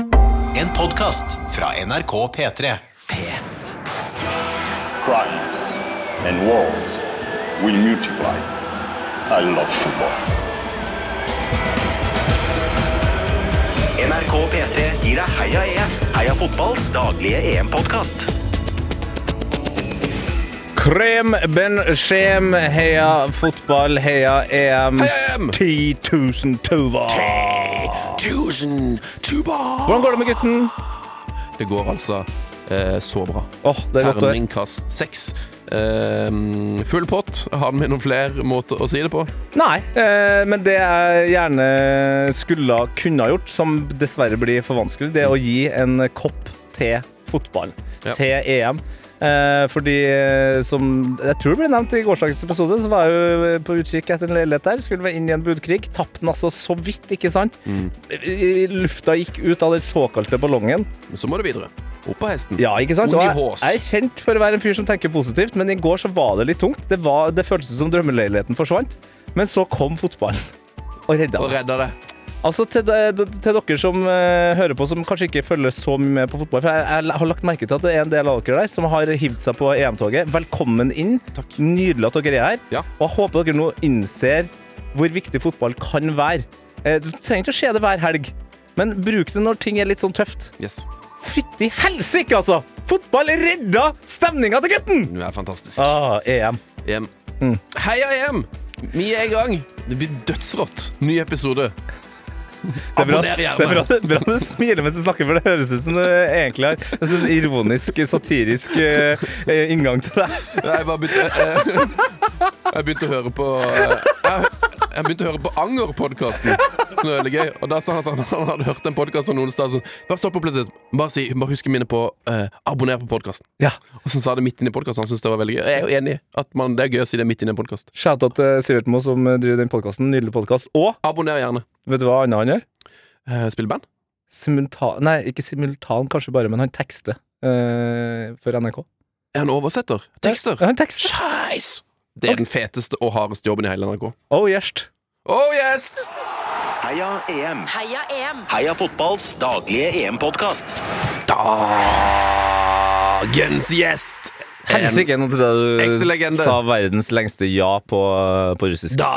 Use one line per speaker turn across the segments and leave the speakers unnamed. En podkast fra NRK P3.
crimes and wars will multiply. I love football.
NRK P3 gir deg Heia EM. Heia fotballs daglige E EM-podkast.
Krem, ben, skjem, heia fotball, heia E EM. 10 000 tuva.
Tusen tuba!
Hvordan går det med gutten?
Det går altså eh, så bra.
Åh, det er godt å høre.
Terningkast seks. Eh, full pott. Har vi noen flere måter å si det på?
Nei, eh, men det jeg gjerne skulle ha kunne ha gjort, som dessverre blir for vanskelig, det er å gi en kopp til fotball.
Ja.
Til EM. Eh, fordi, eh, som jeg tror det ble nevnt i gårsdagens episode, så var jeg jo på utkikk etter en leilighet der. Skulle vel inn i en budkrig. Tapte den altså så vidt, ikke sant? I- i- Lufta gikk ut av den såkalte ballongen.
Men Så må du videre. Opp på hesten.
Ja, ikke sant? Og
Ung i
jeg,
hås.
jeg er kjent for å være en fyr som tenker positivt, men i går så var det litt tungt. Det, var, det føltes som drømmeleiligheten forsvant. Men så kom fotballen og redda
Og
meg.
redda det.
Altså til, de- til dere som eh, hører på, som kanskje ikke følger så mye med på fotball. For jeg, jeg har lagt merke til at det er en del av dere der som har hivd seg på EM-toget. Velkommen inn.
Takk.
Nydelig at dere er her.
Ja.
Og jeg håper dere nå innser hvor viktig fotball kan være. Eh, Du trenger ikke å se det hver helg, men bruk det når ting er litt sånn tøft.
Yes.
Fytti helsike, altså! Fotball redda stemninga til gutten!
Du er fantastisk.
Ah, EM.
EM.
Mm.
Heia EM! Vi er i gang. Det blir dødsrått. Ny episode.
Det er bra,
Abonner
det
gjerne.
er bra, det er bra du smiler mens du snakker, for det høres ut som du egentlig har en sånn ironisk, satirisk eh, eh, inngang til det.
Nei, Jeg bare begynte eh, Jeg begynte å høre på eh, Jeg, jeg begynte å høre på Anger-podkasten. Som er veldig gøy. Og da sa han at han, han hadde hørt en podkast fra noen steder sånn Bare stopp opp litt. Bare, si, bare husk å minne på eh, abonner på podkasten.
Ja.
Og så sa det midt inni podkasten. Han syntes det var veldig gøy. Jeg er jo enig i at man, det er gøy å si det midt inni en podkast.
Shout-out til Sivert Moe, som driver den podkasten. Nydelig podkast. Og
Abonner gjerne.
vet du hva annet han gjør?
Eh, Spille band.
Simultan Nei, ikke simultan, kanskje bare, men han tekster eh, for NRK.
Er han oversetter? Tekster?
Han tekster.
Scheis! Det er den feteste og hardeste jobben i hele NRK.
Oh, gjerst.
Oh yes!
Heia EM.
Heia EM!
Heia fotballs daglige E EM-podkast.
Dagens gjest!
Helsike, nå trodde
Ekte
jeg du
legende.
sa verdens lengste ja på, på russisk.
Da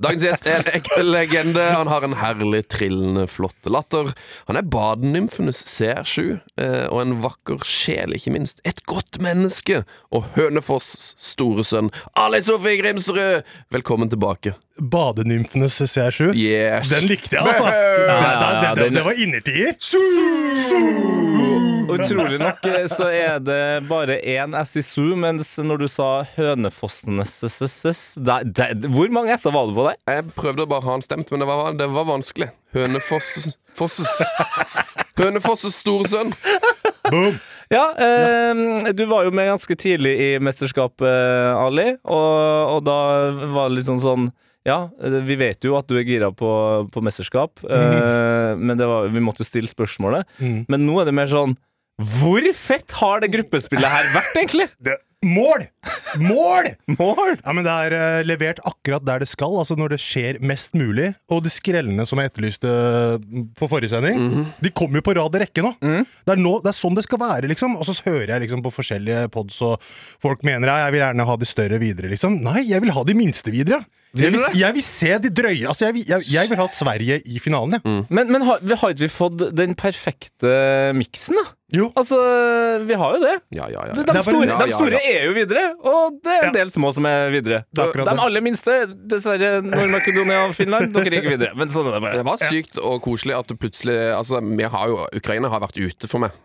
Dagens gjest er en ekte legende. Han har en herlig trillende flott latter. Han er badenymfenes CR7, eh, og en vakker sjel, ikke minst. Et godt menneske. Og Hønefoss' store sønn, Ali Sofie Grimsrud. Velkommen tilbake.
Badenymfenes CR7.
Yes.
Den likte jeg, altså. Det, det, det, det,
den-
det var innertier.
Og Utrolig nok eh, så er det bare én S i SU, mens når du sa Hønefossenes s Hvor mange S-er var det på der?
Jeg prøvde å bare ha han stemt, men det var, det var vanskelig. Hønefoss Fosses Hønefoss' store sønn.
Boom.
Ja, eh, du var jo med ganske tidlig i mesterskapet, Ali, og, og da var det litt sånn sånn ja, eh, vi vet jo at du er gira på, på mesterskap,
Mhm.
eh, men det var, vi måtte jo stille spørsmålet. Men nå er det mer sånn Hvor fett har det gruppespillet her vært, egentlig?
Det, mål! Mål!
Mål!
Ja, men Det er eh, levert akkurat der det skal, altså når det skjer mest mulig. Og de skrellene som jeg etterlyste mm, på forrige sending, de kommer jo på rad og rekke nå. Det, er nå. det er sånn det skal være, liksom. Og så hører jeg liksom på forskjellige pods, og folk mener jeg, jeg vil gjerne ha de større videre, liksom. Nei, jeg vil ha de minste videre. Jeg vil, jeg vil se de drøye. Altså, jeg vil, jeg, jeg vil ha Sverige i finalen, jeg.
Men, men har, har ikke vi fått den perfekte miksen, da?
Jo.
Altså, vi har jo det.
Ja, ja, ja,
De,
ja.
de,
Det er bare-
store,
Ja,
de
ja,
store er jo videre, og det er en
Ja.
del små som er videre.
Det er akkurat
de
det.
aller minste, dessverre, Nord-Makedonia og Finland, dere er ikke videre. Men sånn er det
Det
bare.
var sykt og koselig at du plutselig Altså, vi har jo, Ukraina har vært ute for meg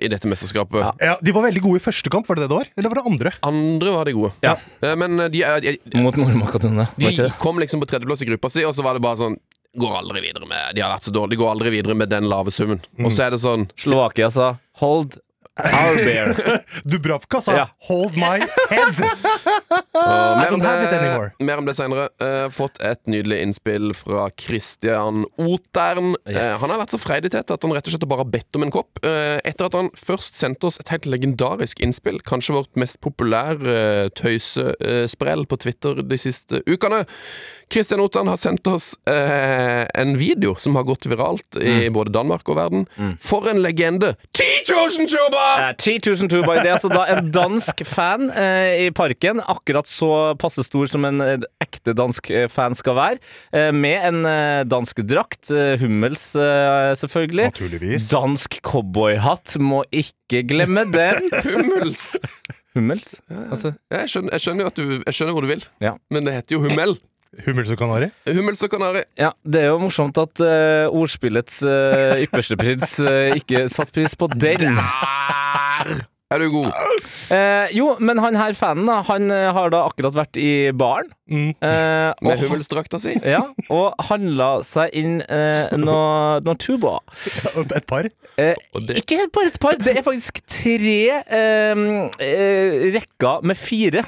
i dette mesterskapet.
Ja.
Ja, De var veldig gode i første kamp, var det det det var? Eller var det andre?
Andre var de gode.
Ja.
Eh, Men eh, de, eh,
Mot Nord-Makedonia. var
de,
ikke
de
det?
kom liksom på tredjeplass i gruppa si, og så var det bare sånn Går aldri videre med De har vært så dårlige. De går aldri videre med den lave summen. Og så er det sånn
Slovakia sa 'hold our bear'.
Dubravka sa
Ja.
'hold my head'.
Og mer,
don't
om
have it anymore.
det, mer om det senere. Eh, fått et nydelig innspill fra Christian Otern. Eh,
Yes.
han har vært så freidig til at han rett og slett bare har bedt om en kopp. Eh, etter at han først sendte oss et helt legendarisk innspill, kanskje eh, vårt mest populære eh, tøysesprell på Twitter de siste ukene. Kristian Ottan har sendt oss eh, en video som har gått viralt i
Mm.
både Danmark og verden. For en legende! 10 000 tuber!
Eh, 3000 tuba. Det er altså da en dansk fan eh, i parken, akkurat så passe stor som en eh, ekte dansk eh, fan skal være, eh, med en eh, dansk drakt, eh, hummels eh, selvfølgelig.
Naturligvis.
Dansk cowboyhatt, må ikke glemme den.
Hummels!
Hummels? Altså,
Jeg skjønner, jeg skjønner, jo at du, jeg skjønner hvor du vil,
Ja.
men det heter jo hummel.
Hummels og kanari?
Hummels og kanari.
ja, det er jo morsomt at eh, ordspillets uh, ypperste prins eh, ikke satt pris på den.
Er du god?
Eh, jo, men han her fanen da, han eh, har da akkurat vært i baren. eh, og
Med hummelsdrakta si?
Ja, og handla seg inn eh, noe, noe tuba.
Et par?
Eh,
Og det-
Ikke bare et par, det er faktisk tre eh, eh, rekker med fire.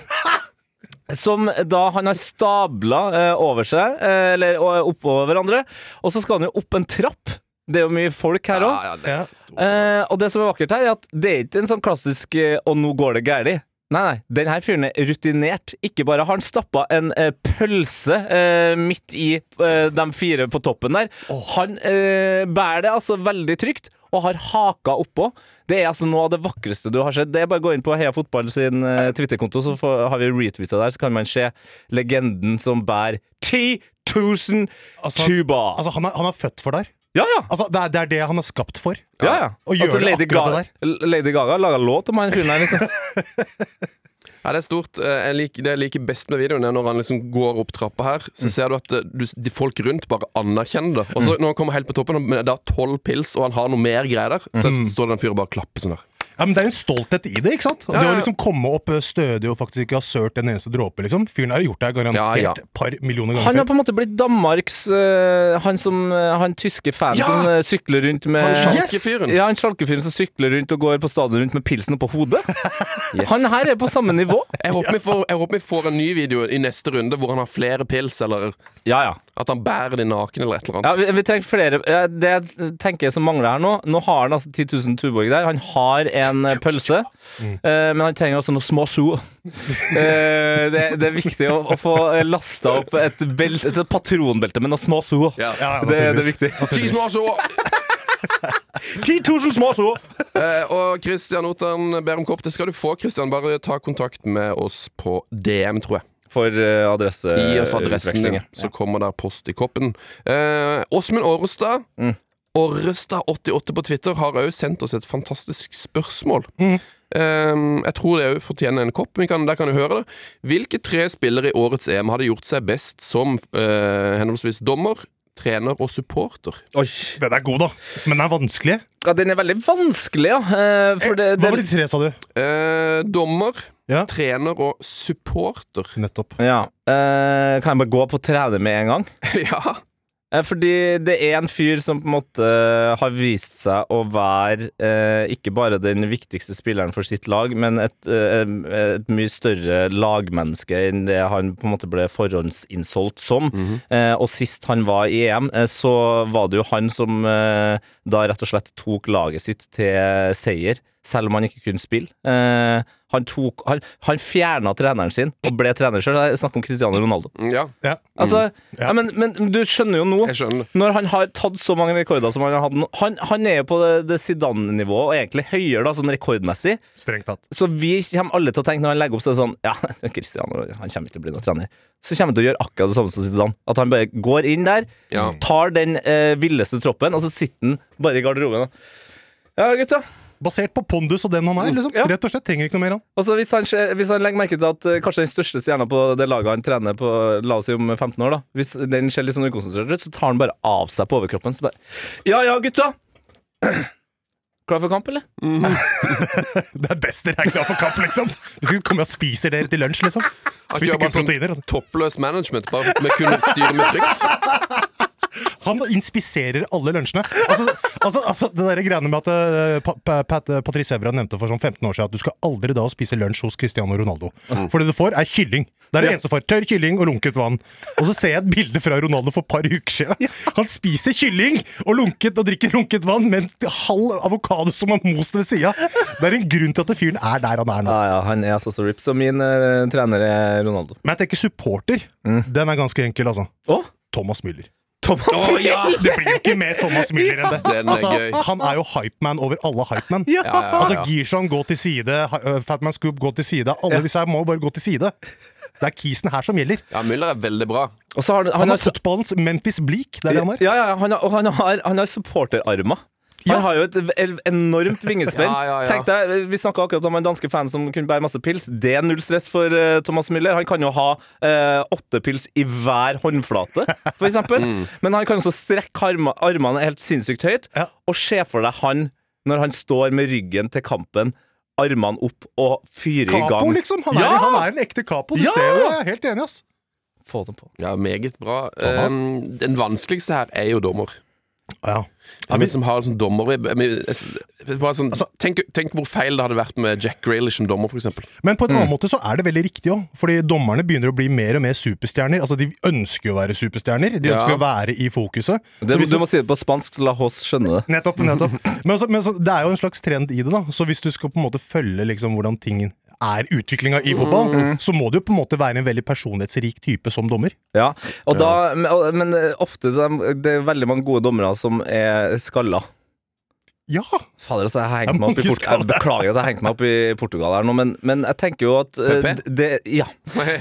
Som da han har stabla eh, over seg, eh, eller eh, oppå hverandre. Og så skal han jo opp en trapp. Det er jo mye folk her òg.
ja, det er så stort.
Eh,
altså.
og det som er vakkert her, er at det er ikke en sånn klassisk eh, 'og nå går det gærlig'. Nei, nei, den her fyren er rutinert. Ikke bare har han stappa en eh, pølse eh, midt i eh, de fire på toppen der. Han eh, bærer det altså veldig trygt og har haka oppå. Det er altså noe av det vakreste du har sett. Det er bare å gå inn på Heia Fotball sin eh, Twitter-konto, så får, har vi retweeta der, så kan man se legenden som bærer 10 000
Altså-
tuba.
Altså, han er, han er født for der.
ja, ja.
Altså, det er, det er det han er skapt for.
Ja, ja.
Og gjør det akkurat det
Gaga, Lady Gaga laga låt om han fyren der, liksom.
Ja, det er stort. Eh, Jeg liker, det jeg liker best med videoen, er når han liksom går opp trappa her, så ser du at eh, du, de folk rundt bare anerkjenner det. Og så når han kommer helt på toppen, og det er tolv pils, og han har noe mer greier der, så står det den fyren bare og klapper sånn der.
Ja, men Det er en stolthet i det. ikke sant? Og
Ja,
Det å
ja.
liksom komme opp eh, stødig og faktisk ikke ha sølt en eneste dråpe. liksom. Fyren har gjort det her garantert
Ja, ja.
par millioner
Han
ganger
har på en måte blitt Danmarks eh, Han som eh, Han tyske fan
Ja!
som eh, sykler rundt med
Han
Yes!
sjalkefyren.
Eh, Ja, han sjalkefyren som sykler rundt og går på stadion rundt med pilsen oppå hodet. Han her er på samme nivå.
Jeg håper, vi får, jeg håper vi får en ny video i neste runde hvor han har flere pils, eller
Ja, ja.
at han bærer de naken, eller et eller
ja
annet.
vi, vi trenger flere ja, Det jeg tenker som mangler her nå Nå har han altså 10 000 Tuborg der. Han har en eh, pølse, eh, men han trenger også noe små so. Eh, det, det er viktig å, å få lasta opp et, belt, et patronbelte med noe små so.
Ja, ja,
det, det er
naturligvis.
viktig.
Ti små så!
10 000 små so!
Eh, og Christian Ottan ber om kopp. Det skal du få, Christian. Bare ta kontakt med oss på DM, tror jeg.
For eh, adresse
Gi oss adressen din,
utveksling, ja.
så kommer der post i koppen. Eh, Åsmund Årestad, Årestad88 på Twitter, har òg sendt oss et fantastisk spørsmål. Eh, jeg tror det òg fortjener en kopp. men Vi kan, der kan du høre det. Hvilke tre spillere i årets EM hadde gjort seg best som eh, henholdsvis dommer, trener og supporter?
Oi.
Den er god, da. Men den er vanskelig.
Ja, den er veldig vanskelig, ja. eh, For det,
Hva var de
det,
tre, sa du?
Eh, dommer,
Ja.
trener og supporter.
Nettopp.
ja. eh, kan jeg bare gå på trener med en gang?
ja.
Eh, Fordi det er en fyr som på en måte eh, har vist seg å være eh, ikke bare den viktigste spilleren for sitt lag, men et, eh, et mye større lagmenneske enn det han på en måte ble forhåndsinnsolgt som. Eh, og sist han var i EM, eh, så var det jo han som eh, da rett og slett tok laget sitt til seier, selv om han ikke kunne spille. Eh, han, tok- han, han fjerna treneren sin og ble trener sjøl. Jeg snakker om Cristiano Ronaldo.
ja.
Ja.
Altså,
Ja.
ja. men, men du skjønner jo nå
Jeg skjønner.
Når han har tatt så mange rekorder som han har hatt nå Han, han er jo på det, det Zidane-nivået, og egentlig høyere, da, sånn rekordmessig.
Mm, Strengt tatt.
Så vi kommer alle til å tenke når han legger opp seg sånn Ja, Christian han kommer ikke til å bli noen trener. Så kommer han til å gjøre akkurat det samme som Zidane. At han bare går inn der,
Ja.
tar den eh, villeste troppen, og så sitter han bare i garderoben og Ja, gutta.
Basert på pondus og den han er. liksom.
Ja.
Rett og slett. Trenger ikke noe mer, han.
Altså, hvis, han, ser- hvis han legger merke til at eh, kanskje den største stjerna på det laget han trener på, la oss si om 15 år, da Hvis den ser litt sånn ukonsentrert ut, så tar han bare av seg på overkroppen. Så bare Ja ja, gutta! Klar for kamp, eller?
Det er best dere er glad for kamp, liksom. Hvis ikke så kommer jeg og spiser dere til lunsj, liksom.
Han
Spiser
kjører
kun
bare sånn
proteiner. altså.
Toppløs management, bare vi kunne styre med frykt.
Han inspiserer alle lunsjene. Altså, altså, altså det der greiene med at eh, pa, pa, Pat, eh, Patrice Evra nevnte for sånn 15 år siden at du skal aldri da spise lunsj hos Cristiano Ronaldo. For det du får, er kylling. Det er det eneste du får. Tørr kylling og lunket vann. Og så ser jeg et bilde fra Ronaldo for et par uker siden. Han spiser kylling og lunket og drikker lunket vann med en halv avokado som han most ved sida. Det er en grunn til at fyren er der han er nå.
Ja, ja, han er altså så rip. Så min eh, trener er Ronaldo.
Men jeg tenker supporter. Den er ganske enkel, altså.
Å,
Thomas Müller.
Thomas!
Det blir jo ikke mer Thomas Müller enn det.
Den er
Altså,
gøy.
han er jo hypeman over alle hypeman.
Ja.
Ja, ja,
Altså,
ja.
Gershon gå til side, Hi- øh, Fatman Scoop gå til side. Alle disse her må jo bare gå til side. Det er kisen her som gjelder.
ja, Müller er veldig bra.
Og så har han,
Han
han
er
har,
fotballens Memphis Bleak. Det er det han er.
altså- ja, ja, han har, og han har, han har supporterarmer. Han
Ja.
har jo et v- enormt vingespenn.
Ja, ja, ja.
Tenk deg, Vi snakka akkurat om en danske fan som kunne bære masse pils. Det er null stress for eh, Thomas Müller. Han kan jo ha eh, åtte pils i hver håndflate, f.eks. Men han kan også strekke arma, armene helt sinnssykt høyt.
Mm. Ja.
Og se for deg han når han står med ryggen til kampen, armene opp og fyrer i gang.
Capo, liksom. Han er,
Ja!
han er en ekte capo. Du
Ja!
ser jo det. Jeg er helt enig, ass.
Få dem på.
Ja, Meget bra.
Thomas?
Um, den vanskeligste her er jo dommer.
Ja.
Ja, vi som har en sånn dommer jeg- jeg- jeg- bare sånn, tenk, tenk hvor feil det hadde vært med Jack Grealish som dommer, for eksempel.
Men på en
Mm.
annen måte så er det veldig riktig òg. Fordi dommerne begynner å bli mer og mer superstjerner. Altså, De ønsker jo å være superstjerner. De ønsker
Ja.
å være i fokuset. Så
Det,
hvis
du må si det på spansk, la oss skjønne det.
Nettopp. nettopp Men, altså, men altså, det er jo en slags trend i det. da Så hvis du skal på en måte følge liksom, hvordan ting er utviklinga i fotball,
Mm.
så må du jo på en måte være en veldig personlighetsrik type som dommer.
Ja, og da, men- og- Men eh, ofte så er det er veldig mange gode dommere som er skalla.
Ja!
Fader, altså, jeg, har hengt
Det er
meg opp i
mange
Port jeg
skaller.
beklager at jeg hengte meg opp i Portugal her nå, men, men jeg tenker jo at eh,
Pepe?
det, ja.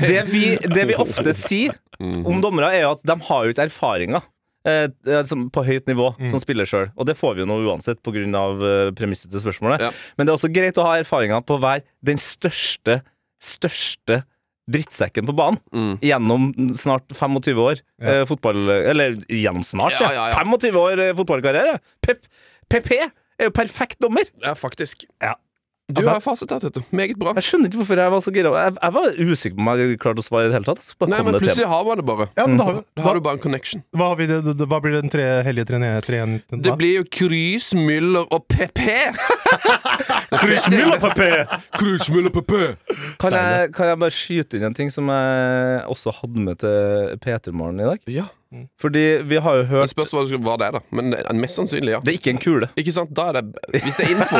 det, vi, det vi ofte sier
Mm.
om dommere, er jo at de har jo ikke erfaringer. eh, eh, som- på høyt nivå,
Mm.
som spiller sjøl. Og det får vi jo nå uansett pga. Uh, premisset til spørsmålet.
Ja.
Men det er også greit å ha erfaringer på å være den største, største drittsekken på banen
Mm.
gjennom snart 25 år eh, fotball... Eller gjennom snart, ja.
Ja, ja, ja.
25 år eh, fotballkarriere. Pep, PP er jo perfekt dommer.
Ja, faktisk.
Ja.
Du har fasit her, Tete. Meget bra.
Jeg skjønner ikke hvorfor jeg var så gira. Jeg, jeg var usikker på om jeg klarte å svare i det hele tatt. altså, Så bare
Nei,
kom
men
det til
plutselig har man det bare.
ja men da, har vi-
Da Mm. har du
da,
bare en connection.
hva, har vi, det- det- hva blir den tre hellige trene- treen...
Det blir jo Krys, Müller og PP. Krys, Müller, PP.
Kan jeg, kan jeg bare skyte inn en ting som jeg også hadde med til P3-morgen i dag?
Ja.
Fordi vi har jo
Men
hørt
spørs hva det skal- hva det er, da. Men eh, mest sannsynlig, ja.
Det er ikke en kule.
Ikke sant? Da er det Hvis det er info.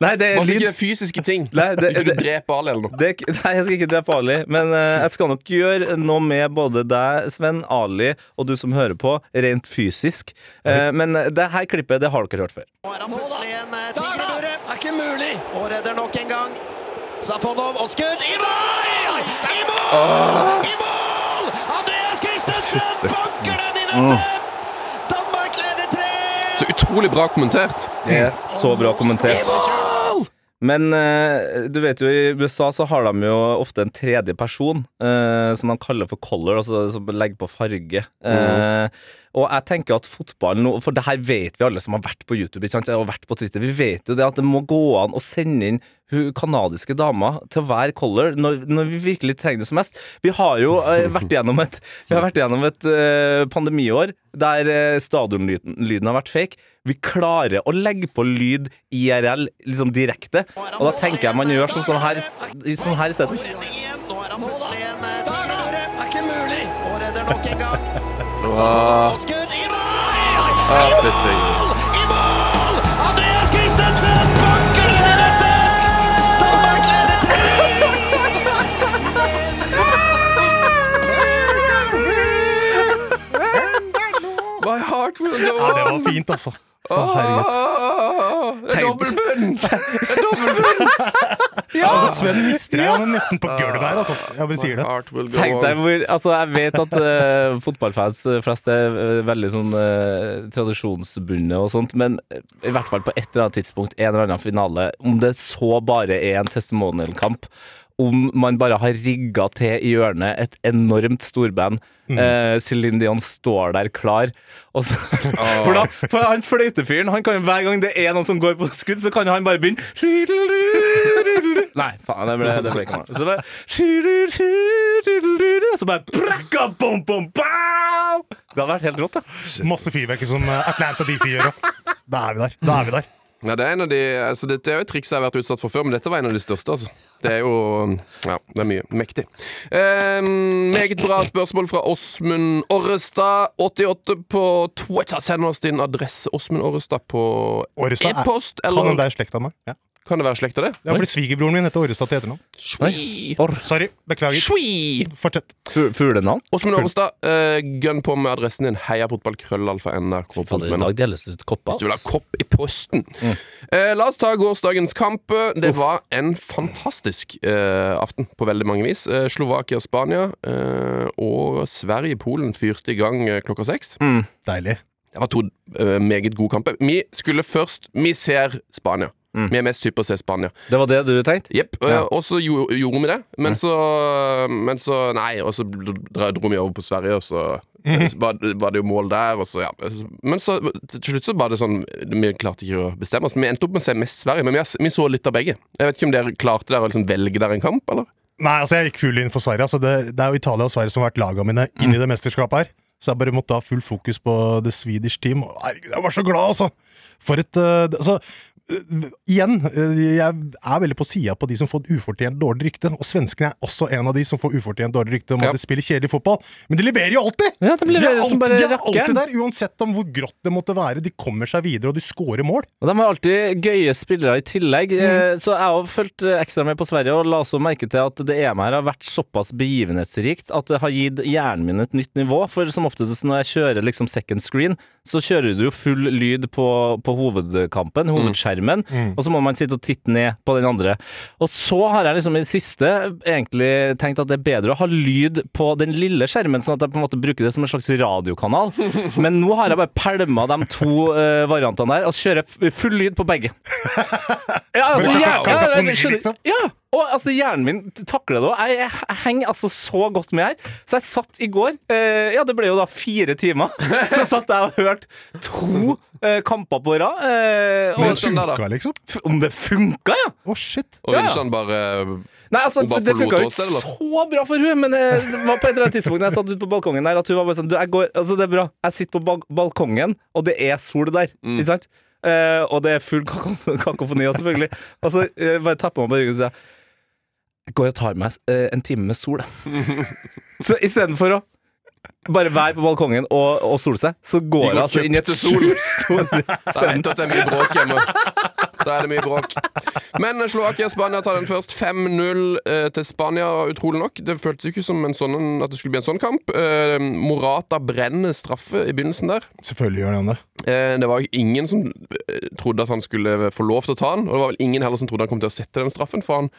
Nei, det er
Bare
lyd.
ikke fysiske ting.
Nei, det-
Ikke du
det-
dreper Ali eller noe.
Det, er ikke- nei, jeg skal ikke drepe Ali, men eh, jeg skal nok gjøre noe med både deg, Sven, Ali og du som hører på, rent fysisk. Eh, men det her klippet det har dere hørt før.
Nå er han plutselig en eh, tiger i buret. Er ikke mulig. Og redder nok en gang. Safonov og skudd. I mål! I mål! I mål! Andreas Christensen banker den i nettet! Danmark leder tre!
Så utrolig bra kommentert.
Det er så bra kommentert. Men eh, du vet jo, i USA så har de jo ofte en tredje person eh, som de kaller for color, altså som legger på farge. Eh, og jeg tenker at fotballen nå, for det her vet vi alle som har vært på YouTube ikke sant? og vært på Twitter, vi vet jo det at det må gå an å sende inn hun kanadiske dama til å være color når, når vi virkelig trenger det som mest. Vi har jo eh, vært gjennom et, vi har vært gjennom et eh, pandemiår der eh, stadionlyden lyden har vært fake. Vi klarer å legge på lyd IRL liksom direkte, og da tenker jeg man gjør sånn, sånn her i- sånn her isteden.
Redning igjen. Nå er han plutselig en eh, tiger i buret. Er ikke mulig. Og redder nok en gang. Safonov og skudd. I mål! I mål! I mål! Andreas Christensen banker den i nettet! Danmark leder tre!
My heart will go
Ja, det
on.
var fint, altså. Å, herregud.
Ah, Det er dobbeltbunn! Det er dobbeltbunn!
Altså, Sven mister jeg han er nesten på gulvet her, altså. Jeg bare sier det.
Heart will go
Tenk deg
on.
hvor, altså Jeg vet at eh, fotballfans flest er eh, veldig sånn eh, tradisjonsbundne og sånt, men eh, i hvert fall på et eller annet tidspunkt, en eller annen finale, om det så bare er en testimonialkamp, om man bare har rigga til i hjørnet et enormt storband. eh, Céline Dion står der klar. Og så, for, da, for han fløytefyren, han kan jo hver gang det er noen som går på skudd, så kan han bare begynne Nei, faen, det ble, det ble ikke noe. Så bare Så bare brakka, bom, bom, bam! Det hadde vært helt rått, da.
Masse fyrverkeri som eh, Atlanta DC gjør. da. Da er vi der. Da er vi der.
Ja, det er en av de, altså dette er jo et triks jeg har vært utsatt for før, men dette var en av de største. altså. Det er jo ja, det er mye. Mektig. Eh, meget bra spørsmål fra Åsmund Orrestad. 88 på Twitter. Send oss din adresse, Åsmund Orrestad, på
Orrestad er-
e-post.
Han
Eller
der er slekt av meg. Ja.
kan det være slekt av det?
Ja, fordi Svigerbroren min heter Orrestad til etternavn.
Shui.
Sorry. Beklager.
Shui.
Fortsett.
Fu- Fuglenavn?
Åsmund Orrestad, eh, gønn på med adressen din. Heia fotballkrøllalfa
Fader, i
nrk.no.
dag deles det ut kopper.
Du vil ha
ass.
kopp i posten. Eh, la oss ta gårsdagens kamp. Det var en fantastisk eh, aften på veldig mange vis. Eh, Slovakia og Spania eh, og Sverige-Polen fyrte i gang eh, klokka seks.
Deilig.
Det var to eh, meget gode kamper. Vi skulle først Vi ser Spania. Vi er mest hypp på å se Spania.
Det var det du tenkte?
Jepp. eh,
Ja. Mm.
Og så gjo- gjorde vi det, men så Men så Nei, og så dra- dro vi over på Sverige, og så eh,
Mhm.
var, var det jo mål der, og så ja. Men så til slutt så var det sånn Vi klarte ikke å bestemme oss. Vi endte opp med å se mest Sverige, men vi, har s- vi så litt av begge. Jeg vet ikke om dere klarte dere å liksom velge dere en kamp, eller?
Nei, altså jeg gikk full inn for Sverige. Altså det, det er jo Italia og Sverige som har vært lagene mine inn
Mm.
i det mesterskapet her. Så jeg bare måtte ha full fokus på the Swedish team. Og Herregud, jeg var så glad, altså! For et eh, Altså, eh, igjen, eh, jeg er veldig på sida på de som får et ufortjent dårlig rykte. Og svenskene er også en av de som får ufortjent dårlig rykte om
Ja.
at de spiller kjedelig fotball. Men de leverer jo alltid!
Ja, de leverer
er
som
alt-
bare
de er
rakkeren.
alltid der, uansett om hvor grått det måtte være. De kommer seg videre, og de scorer mål.
Og De har alltid gøye spillere i tillegg, eh, så jeg har fulgt eh, ekstra med på Sverige og la også merke til at det EM her har vært såpass begivenhetsrikt at det har gitt hjernen min et nytt nivå. For som oftest når jeg kjører liksom second screen, så kjører du jo full lyd på, på hovedkampen,
Mm.
hovedskjermen, og så må man sitte og titte ned på den andre. Og så har jeg liksom i det siste egentlig tenkt at det er bedre å ha lyd på den lille skjermen, sånn at jeg på en måte bruker det som en slags radiokanal. Men nå har jeg bare pælma de to eh, variantene der og kjører f- full lyd på begge. Ja, altså,
Men
hjernen,
kakafoni,
ja, jeg skjønner-
liksom?
ja, og altså hjernen min takler det òg. Jeg, jeg, jeg henger altså så godt med her. Så jeg satt i går eh, Ja, det ble jo da fire timer. Så satt jeg og hørte to eh, kamper på rad. Eh,
Men
og,
sånn der, da.
funka, liksom.
f- om det funka, ja!
Å, shit.
Og
Ja, ja.
Vinsjan bare
Nei, altså,
Hun bare
det funka
forlot
jo
oss, eller?
ikke så bra for hun Men eh, det var på et eller annet tidspunkt Når jeg satt ute på balkongen der At hun var bare sånn du, jeg går, Altså det er bra Jeg sitter på bal balkongen Og det er sol der
Mm.
Ikke sant? Eh, og det er full kako- kakofoni også, selvfølgelig Og så eh, bare tapper meg på ryggen Og sier jeg, Jeg går og tar meg eh, en time med sol jeg.» Så i stedet for å Bare være på balkongen og, og sole seg Så går
går
jeg altså inn i et
kjøpte sol.
solstående
Da vet du at det er mye bråk hjemme. Da er det mye bråk. Men Slovakia og Spania tar den først. 5-0 eh, til Spania, utrolig nok. Det føltes jo ikke som en sånn, at det skulle bli en sånn kamp. Eh, Morata brenner straffe i begynnelsen der.
Selvfølgelig gjør han det.
Eh, det var jo ingen som eh, trodde at han skulle få lov til å ta den, og det var vel ingen heller som trodde han kom til å sette den straffen, for han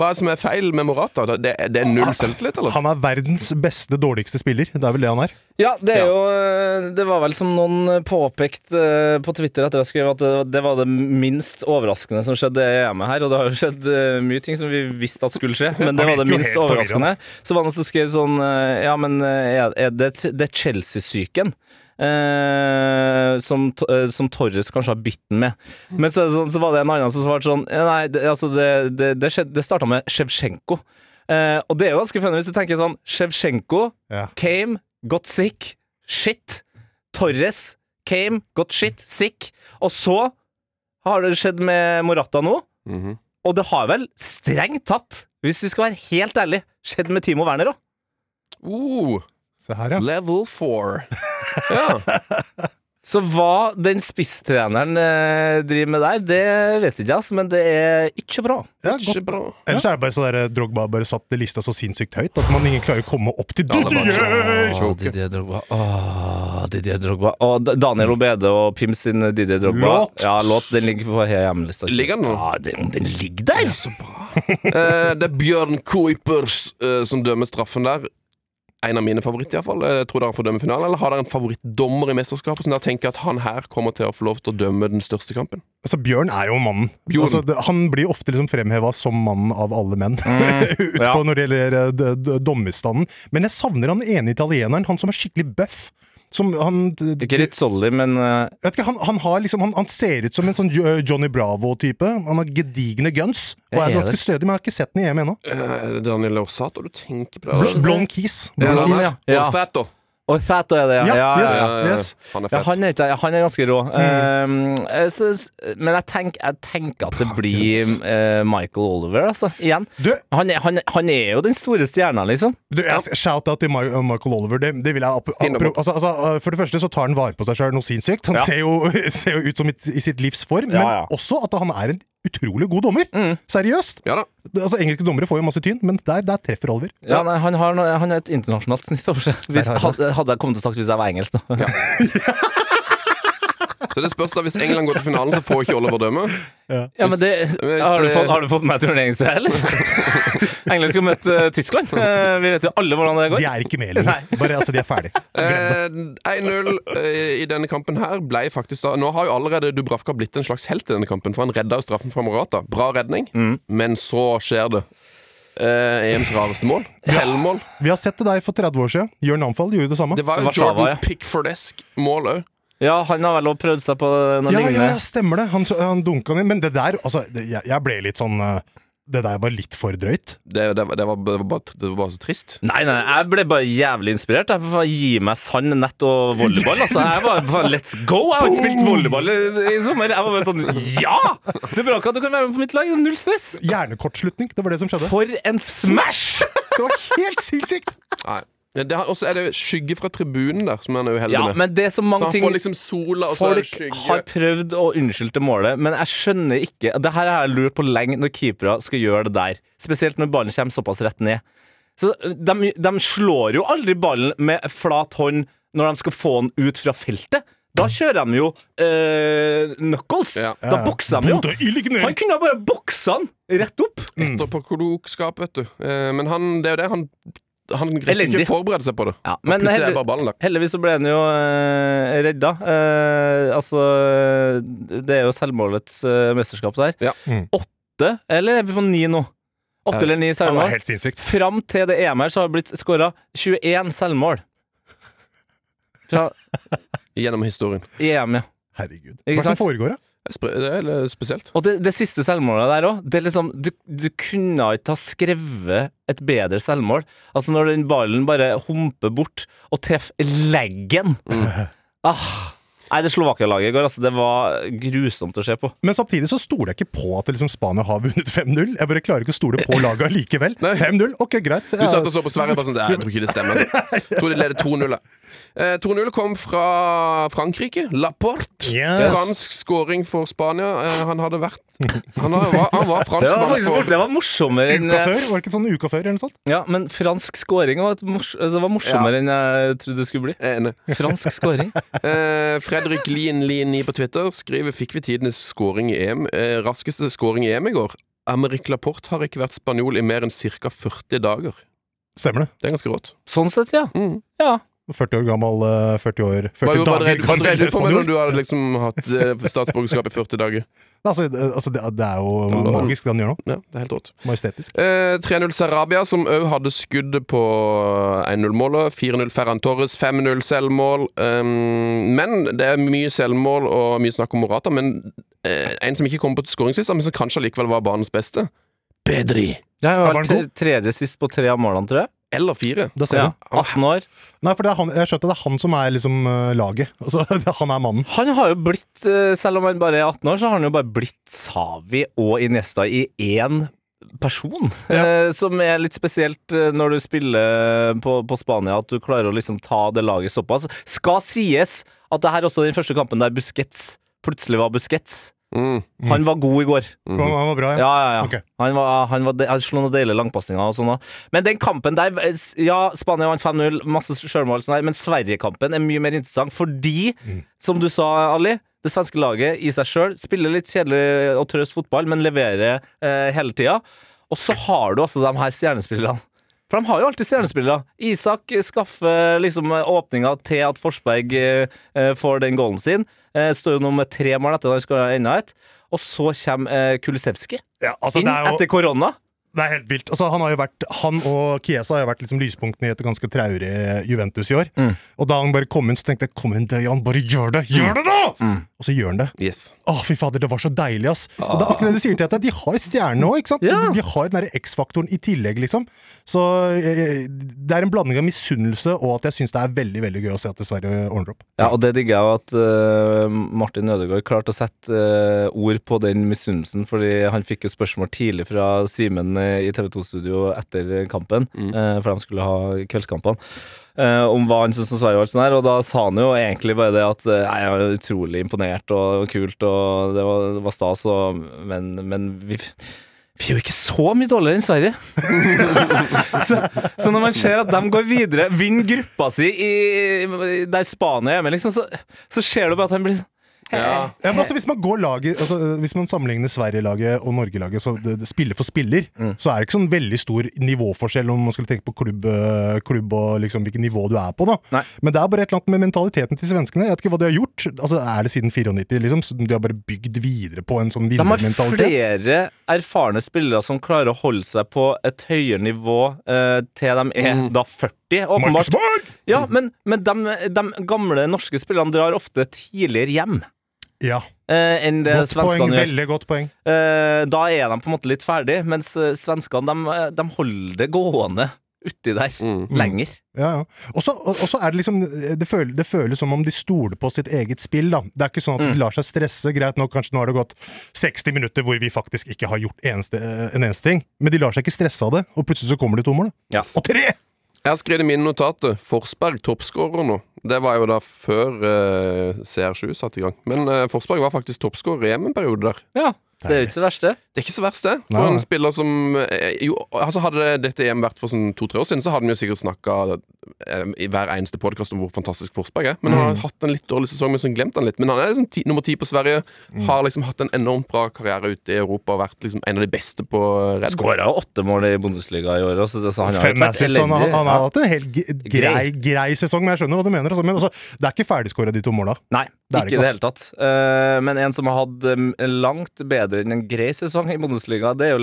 Hva er det som er feil med Morata? Det, det, det er null selvtillit, eller?
Han er verdens beste dårligste spiller. Det er vel det han er.
Ja, det er
Ja.
jo eh, Det var vel som noen påpekte eh, på Twitter etter jeg skrev at det- det var det minst overraskende som skjedde i EM her, og det har jo skjedd eh, mye ting som vi visste at skulle skje, men det var
Han
det
virker jo
minst
helt
overraskende. Så var det noen som skrev sånn eh, Ja, men eh, er er det, det er Chelsea-syken. Eh, som, to- eh, som Torres kanskje har bitt den med. Men så, er det sånn- så var det en annen som svarte sånn eh, Nei, det, altså det, det, det, skjedde- det starta med Sjevtsjenko. Eh, og det er jo ganske funny hvis du tenker sånn Sjevtsjenko
Ja.
came, got sick, shit. Torres came, got shit, sick. Og så har det skjedd med Morata nå.
Mhm.
Og det har vel strengt tatt, hvis vi skal være helt ærlig, skjedd med Timo Werner òg.
Oh,
Se her, ja.
level four. Ja.
Så hva den spisstreneren eh, driver med der, det vet ikke jeg, altså, men det er ikke bra.
ja
Ikke
godt.
bra.
Ellers er det bare så der, eh, Drogba bare satt det lista så sinnssykt høyt at man ingen klarer å komme opp til
Ja, det var
Didier!
sånn, Åh, Didier Drogba. Åh, Didier Drogba. Og D- Daniel Obede og Pim sin Didier Drogba.
Låt.
Ja, låt. Den ligger på hjemmelista.
Ligger den nå?
Ja, den, den ligger der! så bra.
Eh, det er Bjørn Kuipers eh, som dømmer straffen der. En av mine favoritter, iallfall. Uh, tror dere han får dømme finalen? Eller har dere en favorittdommer i mesterskapet som dere tenker at han her kommer til å få lov til å dømme den største kampen?
Altså, Bjørn er jo mannen.
Bjørn.
Altså, det, han blir ofte liksom fremheva som mannen av alle menn utpå
Mm, ja.
når det gjelder eh, d- d- dommerstanden. Men jeg savner han ene italieneren, han som er skikkelig bøff. Som han d- d-
Ikke Rizzoli, men eh,
vet ikke, han, han, har liksom, han, han ser ut som en sånn Jo- Johnny Bravo-type. Han har gedigne guns og
Jeg er
er ganske
det.
stødig, men jeg har ikke sett den i E EM ennå.
Eh, er det Daniel Orsato du tenker på?
Bl Blond Keys.
Ja,
Blond
han
Keys.
er.
Ja.
Orsato.
Og Fæto er det, ja.
Ja,
ja, ja,
yes, Mm.
ja.
ja, ja.
yes.
Han er
Ja,
fett.
han, er, ikke- ja, han er ganske rå. Um, jeg synes- men jeg, tenk, jeg tenker at det blir eh, Michael Oliver, altså. Igjen.
Du,
Han er, han, er- han er jo den store stjerna, liksom.
Du, jeg, shout out til Mi- Michael Oliver. Det, det vil jeg appro-
Fin
appro-
rapport.
altså, altså, For det første så tar han vare på seg sjøl noe sinnssykt. Han
Ja.
ser, jo, ser jo ut som i, i sitt livs form, men
Ja, Mm. ja.
også at han er en utrolig god dommer. Seriøst.
Ja da.
Altså, Engelske dommere får jo masse tyn, men der, der treffer Oliver.
Ja, nei, han, har, noe- han har et internasjonalt snitt over seg. Hvis,
Der har
hadde, hadde jeg kommet til å sagt hvis jeg var engelsk, da.
Så det spørs da, Hvis England går til finalen, så får ikke Oliver dømme.
Ja, men det,
hvis
har, du
det-
fått, har du fått med turneringstre, eller? England skal møte eh, Tyskland. Eh, vi vet jo alle hvordan det går.
De er ikke med lenger. Bare, altså, de er ferdig.
Eh, 1-0 eh, i denne kampen her ble faktisk da Nå har jo allerede Dubravka blitt en slags helt i denne kampen, for han redda jo straffen fra Morata. Bra redning,
Mm.
men så skjer det. Eh, EMs rareste mål. Selvmål.
Vi har sett det der for 30 år siden. Jørn Amfald gjorde det samme.
Det var jo
Warszawa, ja.
Jordan Pickfordesk mål òg.
Ja, han har vel også prøvd seg på noe
ja, ja,
lignende.
ja, stemmer det. Han, så- han dunka ned. Men det der, altså det, jeg, jeg ble litt sånn eh, Det der var litt for drøyt.
Det, det, var- det, var- det, var bare- det var bare så trist.
Nei, nei, jeg ble bare jævlig inspirert. Jeg for faen Gi meg sand, nett og volleyball. Altså, jeg var faen, Let's go! Jeg har ikke spilt volleyball i, i sommer. Jeg var bare sånn Ja! Det er bra at du kan være med på mitt lag. Null stress.
Hjernekortslutning, det var det som skjedde.
For en smash!
Det var helt sinnssykt!
Nei. Det har, også er det jo skygge fra tribunen der, som han er uheldig
Ja,
med.
men det er så
Så
mange
han
ting
får liksom sola, og så er det
Folk
skygge.
har prøvd å unnskylde til målet, men jeg skjønner ikke Det her har jeg lurt på lenge når keepere skal gjøre det der. Spesielt når ballen kommer såpass rett ned. Så de, de slår jo aldri ballen med flat hånd når de skal få den ut fra feltet. Da kjører de jo eh, knuckles.
Ja.
Da bokser de jo.
Bodø ildner.
Han kunne ha bare boksa den rett opp.
Etter på klokskap, vet du. Eh, men han, det er jo det. Han, han rekker ikke
Elendig.
å forberede seg på det.
Ja,
Og
men
plutselig
heller-
er bare ballen der.
Heldigvis så ble han jo eh, redda. Eh, altså Det er jo selvmålets eh, mesterskap der.
Ja.
Mm.
Åtte, eller er vi på ni nå? Åtte
Ja.
eller ni
Det var
selvmål.
helt sinnssykt.
Fram til det EM her så har det blitt skåra 21 selvmål. Fra
Gjennom historien.
EM, ja.
Herregud. Hva
Ikke
er det
sant?
som foregår, da?
Sp- Det er litt spesielt.
Og det, det siste selvmålet der òg, det er liksom du, du kunne ikke ha skrevet et bedre selvmål. Altså når den ballen bare humper bort og treffer leggen.
Mm.
Ah. Nei, det Slovakia-laget i går, altså, det var grusomt å se på.
Men samtidig så stoler jeg ikke på at liksom, Spania har vunnet 5-0. Jeg bare klarer ikke å stole på laget likevel. 5-0, ok, greit.
Du satt og så på Sverige og bare sånn «Nei, Jeg tror ikke det stemmer. Jeg tror de leder 2-0. Eh, 2-0 kom fra Frankrike. Laporte.
Eh, Yes.
Fransk scoring for Spania. Eh, han hadde vært Han har- var, han var
Det var,
franskmann
faktisk,
for
det var morsommere enn eh,
Uka før?
eh,
Var det ikke sånn uka før? eller noe sånt?
Ja, men fransk scoring var, et mors, altså, det var morsommere enn jeg trodde det skulle bli.
Enig.
Fransk scoring.
Eh, Fredrik Lien Lien i på Twitter skriver Fikk vi tidenes scoring i EM, eh, raskeste scoring i EM i går. Amerik Laporte har ikke vært spanjol i mer enn ca. 40 dager.
Stemmer det.
Det er ganske rått.
Sånn sett, ja.
Mm.
ja.
40 år gammel, eh, 40 år 40
Hva, gjorde- hva, drev, hva drev du på med
spanjol.
når du hadde liksom hatt eh, statsborgerskap i 40 dager?
Altså, det- altså, det, det er jo
var-
magisk, det han gjør nå.
Ja, det er helt rått.
Majestetisk.
Eh, 3-0 Sarabia, som òg hadde skuddet på eh, 1-0-målet. 4-0 Ferran Torres, 5-0 selvmål. Ehm, men det er mye selvmål og mye snakk om Morata. Men eh, en som ikke kom på skåringslista, men som kanskje allikevel var banens beste. Pedri.
Jeg har
Ja, var
vært
den god?
tre- tredje sist på tre av målene, tror jeg.
Eller fire.
Da ser
Ja.
du.
18 år.
Nei, for det er han, jeg skjønte det er han som er liksom eh, laget. Altså, det er- han er mannen.
Han har jo blitt, eh, selv om han bare er 18 år, så har han jo bare blitt Savi og Iniesta i én person. Eh, som er litt spesielt eh, når du spiller eh, på, på Spania, at du klarer å liksom ta det laget såpass. Skal sies at det her også er den første kampen der Busquets plutselig var Busquets.
Mm.
Han var god i går.
Han, han var bra, ja.
Ja, ja, ja.
Ok.
Han, var, han, var, han slo noen deilige langpassinger og sånn. da. Men den kampen der Ja, Spania vant 5-0, masse sjølmål, og sånn der, men Sverige-kampen er mye mer interessant fordi, som du sa, Ali det svenske laget i seg sjøl spiller litt kjedelig og trøst fotball, men leverer eh, hele tida. Og så har du altså de her stjernespillerne. For de har jo alltid stjernespillere. Isak skaffer liksom åpninga til at Forsberg eh, eh, får den goalen sin. Eh, står jo nå med tre mål etter at han skåra enda et. Og så kommer eh, Kulisevskij
ja altså,
inn
det er jo
etter korona.
Det er helt vilt. Altså, han, har jo vært, han og Chiesa har jo vært liksom lyspunktene i et ganske traurig Juventus i år.
Mm.
Og da han bare kom inn, så tenkte jeg kom inn, Dejan, bare gjør det! Gjør det, da!
Mm.
Og så gjør han det.
Yes.
Å, fy fader, det var så deilig, ass! Og det er akkurat det du sier til at de har stjernene òg, ikke sant?
Ja.
De, de har den derre X-faktoren i tillegg, liksom. Så eh, det er en blanding av misunnelse og at jeg syns det er veldig veldig gøy å se at det Sverige ordner opp.
Ja, og det digger jeg jo at eh, Martin Ødegaard klarte å sette eh, ord på den misunnelsen, fordi han fikk jo spørsmål tidlig fra Simen eh, i TV 2-studio etter kampen, eh, for de skulle ha kveldskampene, eh, om hva han syntes om Sverige og alt sånt der, og da sa han jo egentlig bare det at eh, jeg er utrolig imponert og, og kult, og det var, det var stas, og, men, men vi vi er jo ikke så mye dårligere enn Sverige. så, så når man ser at de går videre, vinner gruppa si i, i- der Spania er med, liksom, så, så ser du bare at han blir sånn
Ja.
Ja, men altså, hvis, man går laget, altså, øh, hvis man sammenligner Sverige-laget og Norge-laget så det, det, spiller for spiller,
Mm.
så er det ikke sånn veldig stor nivåforskjell om man skulle tenke på klubb, øh, klubb og liksom hvilket nivå du er på. da.
Nei.
Men det er bare et eller annet med mentaliteten til svenskene. Jeg vet ikke hva de har gjort. Altså, Er det siden 94? liksom? Så De har bare bygd videre på en sånn
De har
vinnermentalitet.
flere erfarne spillere som klarer å holde seg på et høyere nivå eh, til de er da 40,
Markus
åpenbart.
Borg!
Ja, men, men de, de gamle norske spillerne drar ofte tidligere hjem.
Ja,
eh, enn det
godt poeng.
svenskene gjør.
Veldig godt poeng.
Eh, da er de på en måte litt ferdig, mens eh, svenskene de, de holder det gående uti der lenger.
Ja, ja. Og så og- og så er det liksom det, føl, det føles som om de stoler på sitt eget spill, da. Det er ikke sånn at de
Mm.
lar seg stresse. Greit nok, kanskje nå har det gått 60 minutter hvor vi faktisk ikke har gjort eneste, eh, en eneste ting, men de lar seg ikke stresse av det, og plutselig så kommer det to mål. da.
Yes.
Og tre!
Jeg har skrevet i mine notater eh, Forsberg toppskårer nå. Det var jo da før eh, CR7 satte i gang. Men eh, Forsberg var faktisk toppskårer i en periode der.
Ja, det er jo ikke det verste.
Det er ikke så verst, det. For
Nei, nei.
en spiller som eh, Jo, altså hadde dette EM vært for sånn to-tre år siden, så hadde vi jo sikkert snakka i hver eneste podkast om hvor fantastisk Forsberg er. Men han
Mm.
har hatt en litt dårlig sesong, men så glemt han litt. Men han er liksom ti, nummer ti på Sverige.
Mm.
Har liksom hatt en enormt bra karriere ute i Europa og vært liksom en av de beste på Red Bull.
Skåra jo åtte mål i Bundesliga i år. Så, så han har jo
Fem
ikke vært
assists. Han, har-
elendig.
han
Ja.
har hatt en helt g- grei, grei sesong, men jeg skjønner hva du mener. Altså. Men altså, det er ikke ferdigskåra, de to måla.
Nei,
Det er
ikke i det
det ikke,
hele tatt. Eh, men en som har hatt em, langt bedre enn en grei sesong i Bundesliga, det er jo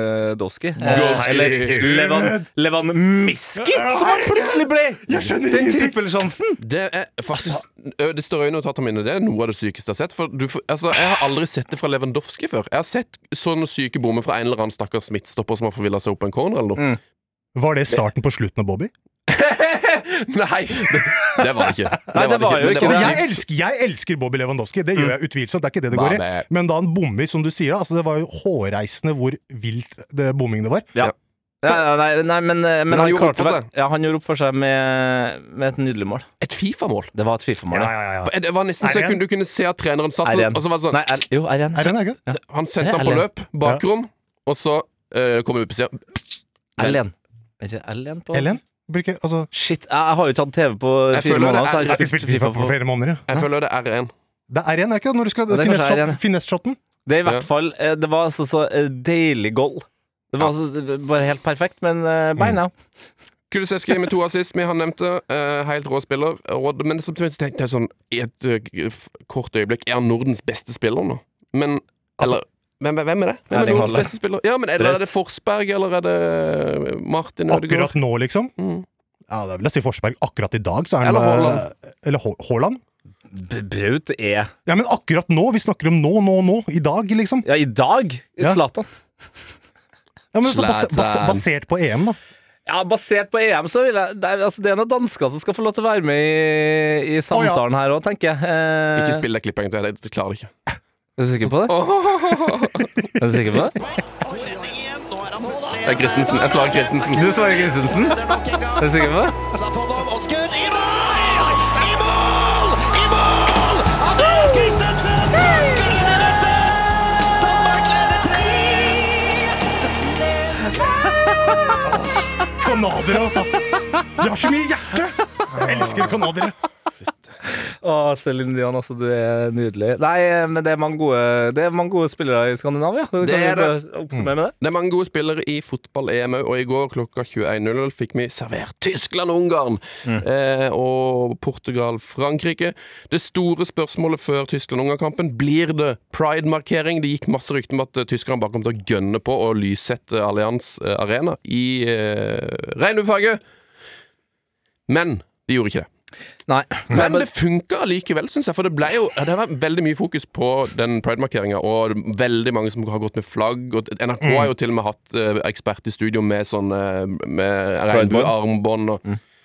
Lewandowski. Eh, eller Levan, Levan Miski, som han plutselig ble! Den trippelsjansen!
Det er faktisk ø, Det står i notatene mine. Det er noe av det sykeste jeg har sett. For du, får- altså, jeg har aldri sett det fra Lewandowski før. Jeg har sett sånne syke bommer fra en eller annen stakkars midtstopper som har forvilla seg opp på en corner eller noe.
Var det starten på slutten av Bobby?
Nei, det, det var det ikke. Det
Nei, det var Mm. jo
men
ikke det.
sykt.
Jeg elsker, jeg elsker Bobby Lewandowski, det gjør jeg utvilsomt. Det er ikke det det
Hva
går i.
med-
Men da han bommer, som du sier, da, altså, det var jo hårreisende hvor vilt det bommingen det var.
Ja, ja, nei, nei, men, eh, men
han gjorde
klarte
opp for
vel-
seg.
Ja, han gjorde opp for seg med, med et nydelig mål.
Et Fifa-mål.
Det var et Fifa-mål.
Ja,
ja.
ja, ja, ja.
Det var nesten så
Er det
jeg kunne, du kunne se at treneren satt
R1.
sånn, og så var det sånn
Nei, R, jo, R1.
Er det en egen?
Han sendte han
Det
på
er
løp, bakrom, og så ø, kom han opp og sier
L1. Er ikke L1 på
Ellen? Bruker, altså,
Shit, jeg, jeg har jo ikke hatt TV på
Jeg
fire
føler det
måneder,
er-
så jeg
jeg
har
har
ikke spilt FIFA på
flere måneder, ja.
Jeg føler det er R1.
Det er igjen, er det ikke det? Når du skal
det er kanskje
finesse-shot-
er igjen.
finesse-shoten?
Det er i hvert
Ja.
fall eh, Det var altså så eh, deilig goal. Det var altså det var bare helt perfekt, men eh, beina
Kuliseski med to assist, vi han nevnte. eh, helt rå spiller. Og, men samtidig så tenkte jeg sånn I et ø, f- kort øyeblikk Er han Nordens beste spiller nå? Men Eller hvem, hvem- hvem er det? Hvem er
Erling
Nordens
Haaland.
beste spiller? Ja, men Eller
Rett.
er det Forsberg, eller er det eh, Martin Ødegaard?
Akkurat nå, liksom?
Mm.
Ja, da vil jeg si Forsberg. Akkurat i dag, så er han
Eller Haaland.
eh, Eller Hå- Haaland?
B- Braut E. er
Ja, men akkurat nå! Vi snakker om nå, nå, nå. I dag, liksom.
Ja, i dag!
Ja.
Zlatan.
Ja, men så bas bas
Zlatan.
basert på EM, da.
Ja. basert på EM, så vil jeg Det er, altså, det er noen dansker som skal få lov til å være med i, i
ja.
samtalen her òg, tenker jeg. Eh,
Ikke spill det klippet en gang til. jeg- Jeg klarer det ikke.
Er du sikker på det? er du sikker på det?
Det er Christensen. Jeg svarer Christensen.
Du svarer Kristensen? Er du sikker på det?
Safonov og skudd i mål! I mål! I mål! Andreas Christensen banker inn i dette! Danmark leder tre!
Canadere, altså! De har så mye hjerte! Jeg elsker canadere.
Å, Céline Dion, altså, du er nydelig. Nei, men det er mange gode, det er mange gode spillere i Skandinavia. Kan
Det er
vi bare Oppsummere med det.
Det er mange gode spillere i fotball-EM òg, og i går klokka 21.00 fikk vi servert Tyskland og Ungarn. Eh, og Portugal-Frankrike. Det store spørsmålet før Tyskland-Ungarn-kampen blir det pride-markering. Det gikk masse rykter om at eh, tyskerne bare kom til å gønne på å lyssette Allianz eh, Arena i eh, regnbuefarget. Men de gjorde ikke det.
Nei.
Men det funka likevel, syns jeg. For det ble jo ja, Det var veldig mye fokus på den pridemarkeringa, og veldig mange som har gått med flagg. Og NRK har jo til og med hatt eh, ekspert i studio med sånn eh, med regnbuearmbånd og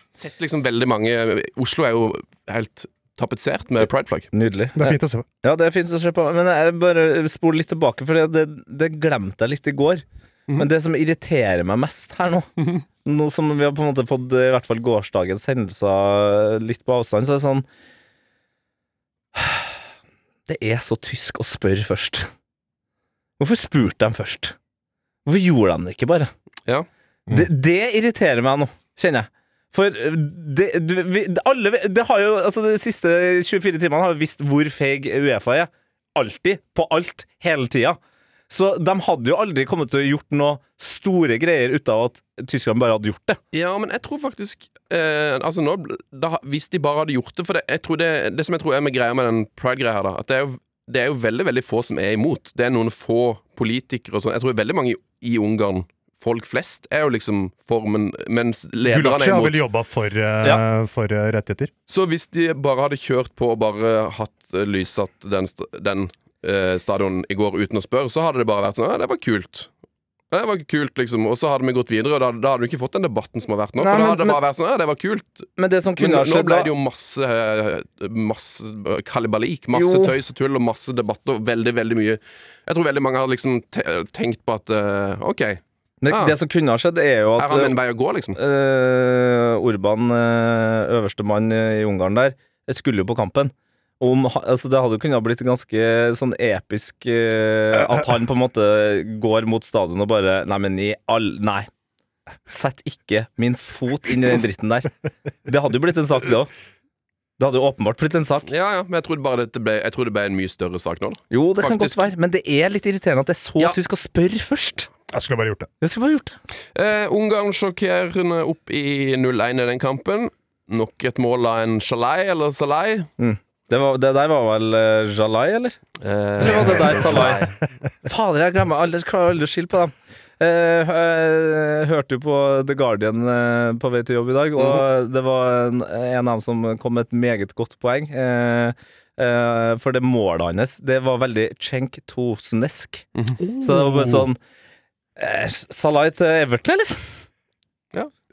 Sett liksom veldig mange Oslo er jo helt tapetsert med prideflagg.
Nydelig.
Det er fint å se på.
Ja, det finnes å se på. Men jeg bare spol litt tilbake, for det, det glemte jeg litt i går. Men det som irriterer meg mest her nå, nå som vi har på en måte fått i hvert fall gårsdagens hendelser litt på avstand, så er det sånn Det er så tysk å spørre først. Hvorfor spurte de først? Hvorfor gjorde de det ikke bare?
Ja.
Det, det irriterer meg nå, kjenner jeg. For eh, det, du, vi, alle, det har jo, altså de siste 24 timene har jo visst hvor feig Uefa er. Alltid. På alt. Hele tida. Så de hadde jo aldri kommet til å gjort noe store greier ut av at Tyskland bare hadde gjort det.
Ja, men jeg tror faktisk eh, Altså nå, bl- da, Hvis de bare hadde gjort det For det, jeg tror det, det som jeg tror er med greia med den pride-greia her, da At det er, jo, det er jo veldig, veldig få som er imot. Det er noen få politikere og sånn. Jeg tror veldig mange i, i Ungarn, folk flest, er jo liksom for, men, mens lederne
Gulachi
er
har
imot.
vel jobba for, eh,
Ja.
for eh, rettigheter.
Så hvis de bare hadde kjørt på og bare hatt eh, lyssatt den, st- den eh, stadion i går uten å spørre, så hadde det bare vært sånn Ja, det var kult. Ja, Det var kult, liksom. Og så hadde vi gått videre, og da, da hadde du ikke fått den debatten som har vært nå.
Nei,
for da
men-
hadde det bare vært sånn Ja, det var kult.
Men det som
Men
kunne ha
nå
skjedd
ble
da
det jo masse, eh, masse kalibalik, masse
Jo.
tøys og tull og masse debatter. Veldig, veldig mye Jeg tror veldig mange har liksom te tenkt på at eh, OK, her
det,
Ah.
det som kunne ha skjedd, er jo at
har vi en vei å gå, liksom.
eh, Orban, eh, øverste mann eh, i Ungarn der, eh, skulle jo på kampen. Om, ha- altså det hadde jo kunnet ha blitt ganske sånn episk eh, at han på en måte går mot stadion og bare Nei, men i all Nei. Sett ikke min fot inn i den dritten der. Det hadde jo blitt en sak, det òg. Det hadde jo åpenbart blitt en sak.
Ja, ja, men jeg trodde bare dette ble, jeg trodde det ble en mye større sak nå, da.
Jo, det kan godt
Faktisk.
være, men det er litt irriterende at det er så
Ja.
tysk å spørre først.
Jeg skulle bare gjort det.
Jeg skulle bare gjort det.
Eh, Ungarn sjokkerende opp i 0-1 i den kampen. Nok et mål av en Shalai, eller Salai.
Det, var, det der var vel eh, Jalai, eller? Eller var det deg, Salai? Fader, jeg glemmer aldri, klarer aldri å skille på dem. Eh, hø- hørte jo på The Guardian eh, på vei til jobb i dag, og
Mhm.
det var en, en av dem som kom med et meget godt poeng. Eh, eh, for det målet hans, det var veldig Cenk Tosenesk.
Mhm.
Så det var bare
Oh.
sånn eh, Salai til Everton, eller?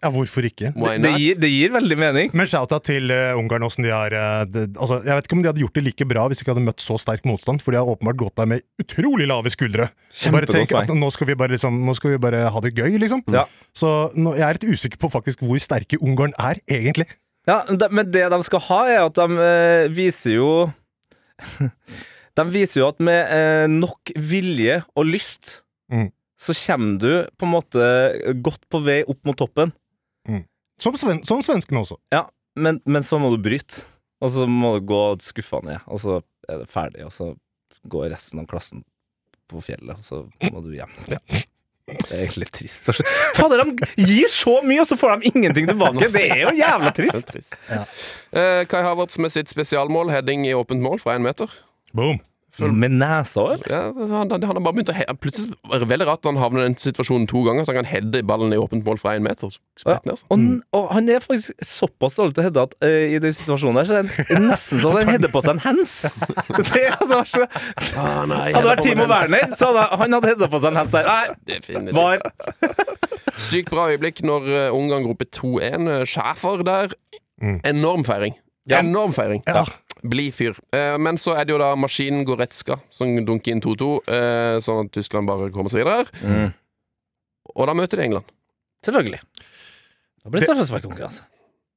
Ja, hvorfor ikke?
Why
Det
not?
gir, det gir veldig mening.
Men shout-out til eh, Ungarn. Hvordan de har, eh, det, altså, jeg vet ikke om de hadde gjort det like bra hvis de ikke hadde møtt så sterk motstand, for de har åpenbart gått der med utrolig lave skuldre. Og Bare
Kjempegodt
tenk
poeng.
at nå skal vi bare, liksom, nå skal vi bare ha det gøy, liksom.
Ja.
Så nå, jeg er litt usikker på faktisk hvor sterke Ungarn er, egentlig.
Ja, de, men det de skal ha, er at de eh, viser jo De viser jo at med eh, nok vilje og lyst,
Mm.
så kommer du på en måte godt på vei opp mot toppen.
Som, sven, som svenskene også.
Ja, men, men så må du bryte. Og så må du gå skuffa ned, og så er det ferdig. Og så går resten av klassen på fjellet, og så må du hjem. Det er egentlig litt trist. Fader, de gir så mye, og så får de ingenting tilbake! Det er jo jævla
Det er
trist!
trist. Eh, Kai Havertz med sitt spesialmål, heading i åpent mål fra én meter.
Boom!
Med nesa, eller?
Ja, han, han har bare begynt å he Plutselig er det veldig rart at han havner i den situasjonen to ganger, at han kan heade ballen i åpent mål fra én meter. Spredt ned, altså.
Og, n- og han er faktisk såpass dårlig til å hedde at eh, i den situasjonen der, så er han nesten så han hedder på seg en hands. Det hadde vært, så,
Ah,
hadde
nei, header
vært
på
Timo
den.
Werner, så hadde han hadde hedda på seg en hands der. Nei,
Definitivt.
var
Sykt bra øyeblikk når eh, Ungarn går opp i 2-1. Eh, Schäfer der. Enorm feiring. Enorm feiring.
Ja.
Blid fyr. Eh, men så er det jo da maskinen Goretzka som dunker inn 2-2, eh, sånn at Tyskland bare kommer seg videre. Og da møter de England.
Selvfølgelig. Da blir det straffesparkkonkurranse.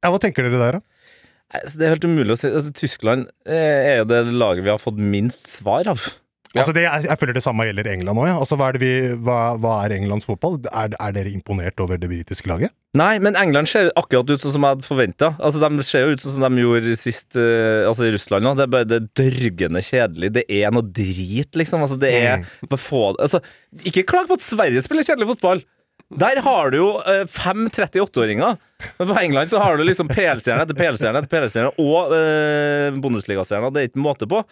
Ja, hva tenker dere der, da?
Nei, så Det er helt umulig å si. Altså, Tyskland eh, er jo det laget vi har fått minst svar av.
Altså det, jeg, jeg føler det samme gjelder England òg. Ja. Altså, hva, er det vi- hva, hva er Englands fotball? Er, er dere imponert over det britiske laget?
Nei, men England ser akkurat ut sånn som jeg hadde forventa. Altså, de ser jo ut sånn som de gjorde sist eh, Altså i Russland nå. Det er bare det er dørgende kjedelig. Det er noe drit, liksom. Altså, det er bare få, altså, Ikke klag på at Sverige spiller kjedelig fotball. Der har du jo eh, fem 38-åringer. Men på England så har du liksom PL-stjerne etter PL-stjerne etter PL-stjerne og eh, Bundesliga-stjerner. Det er ikke måte på.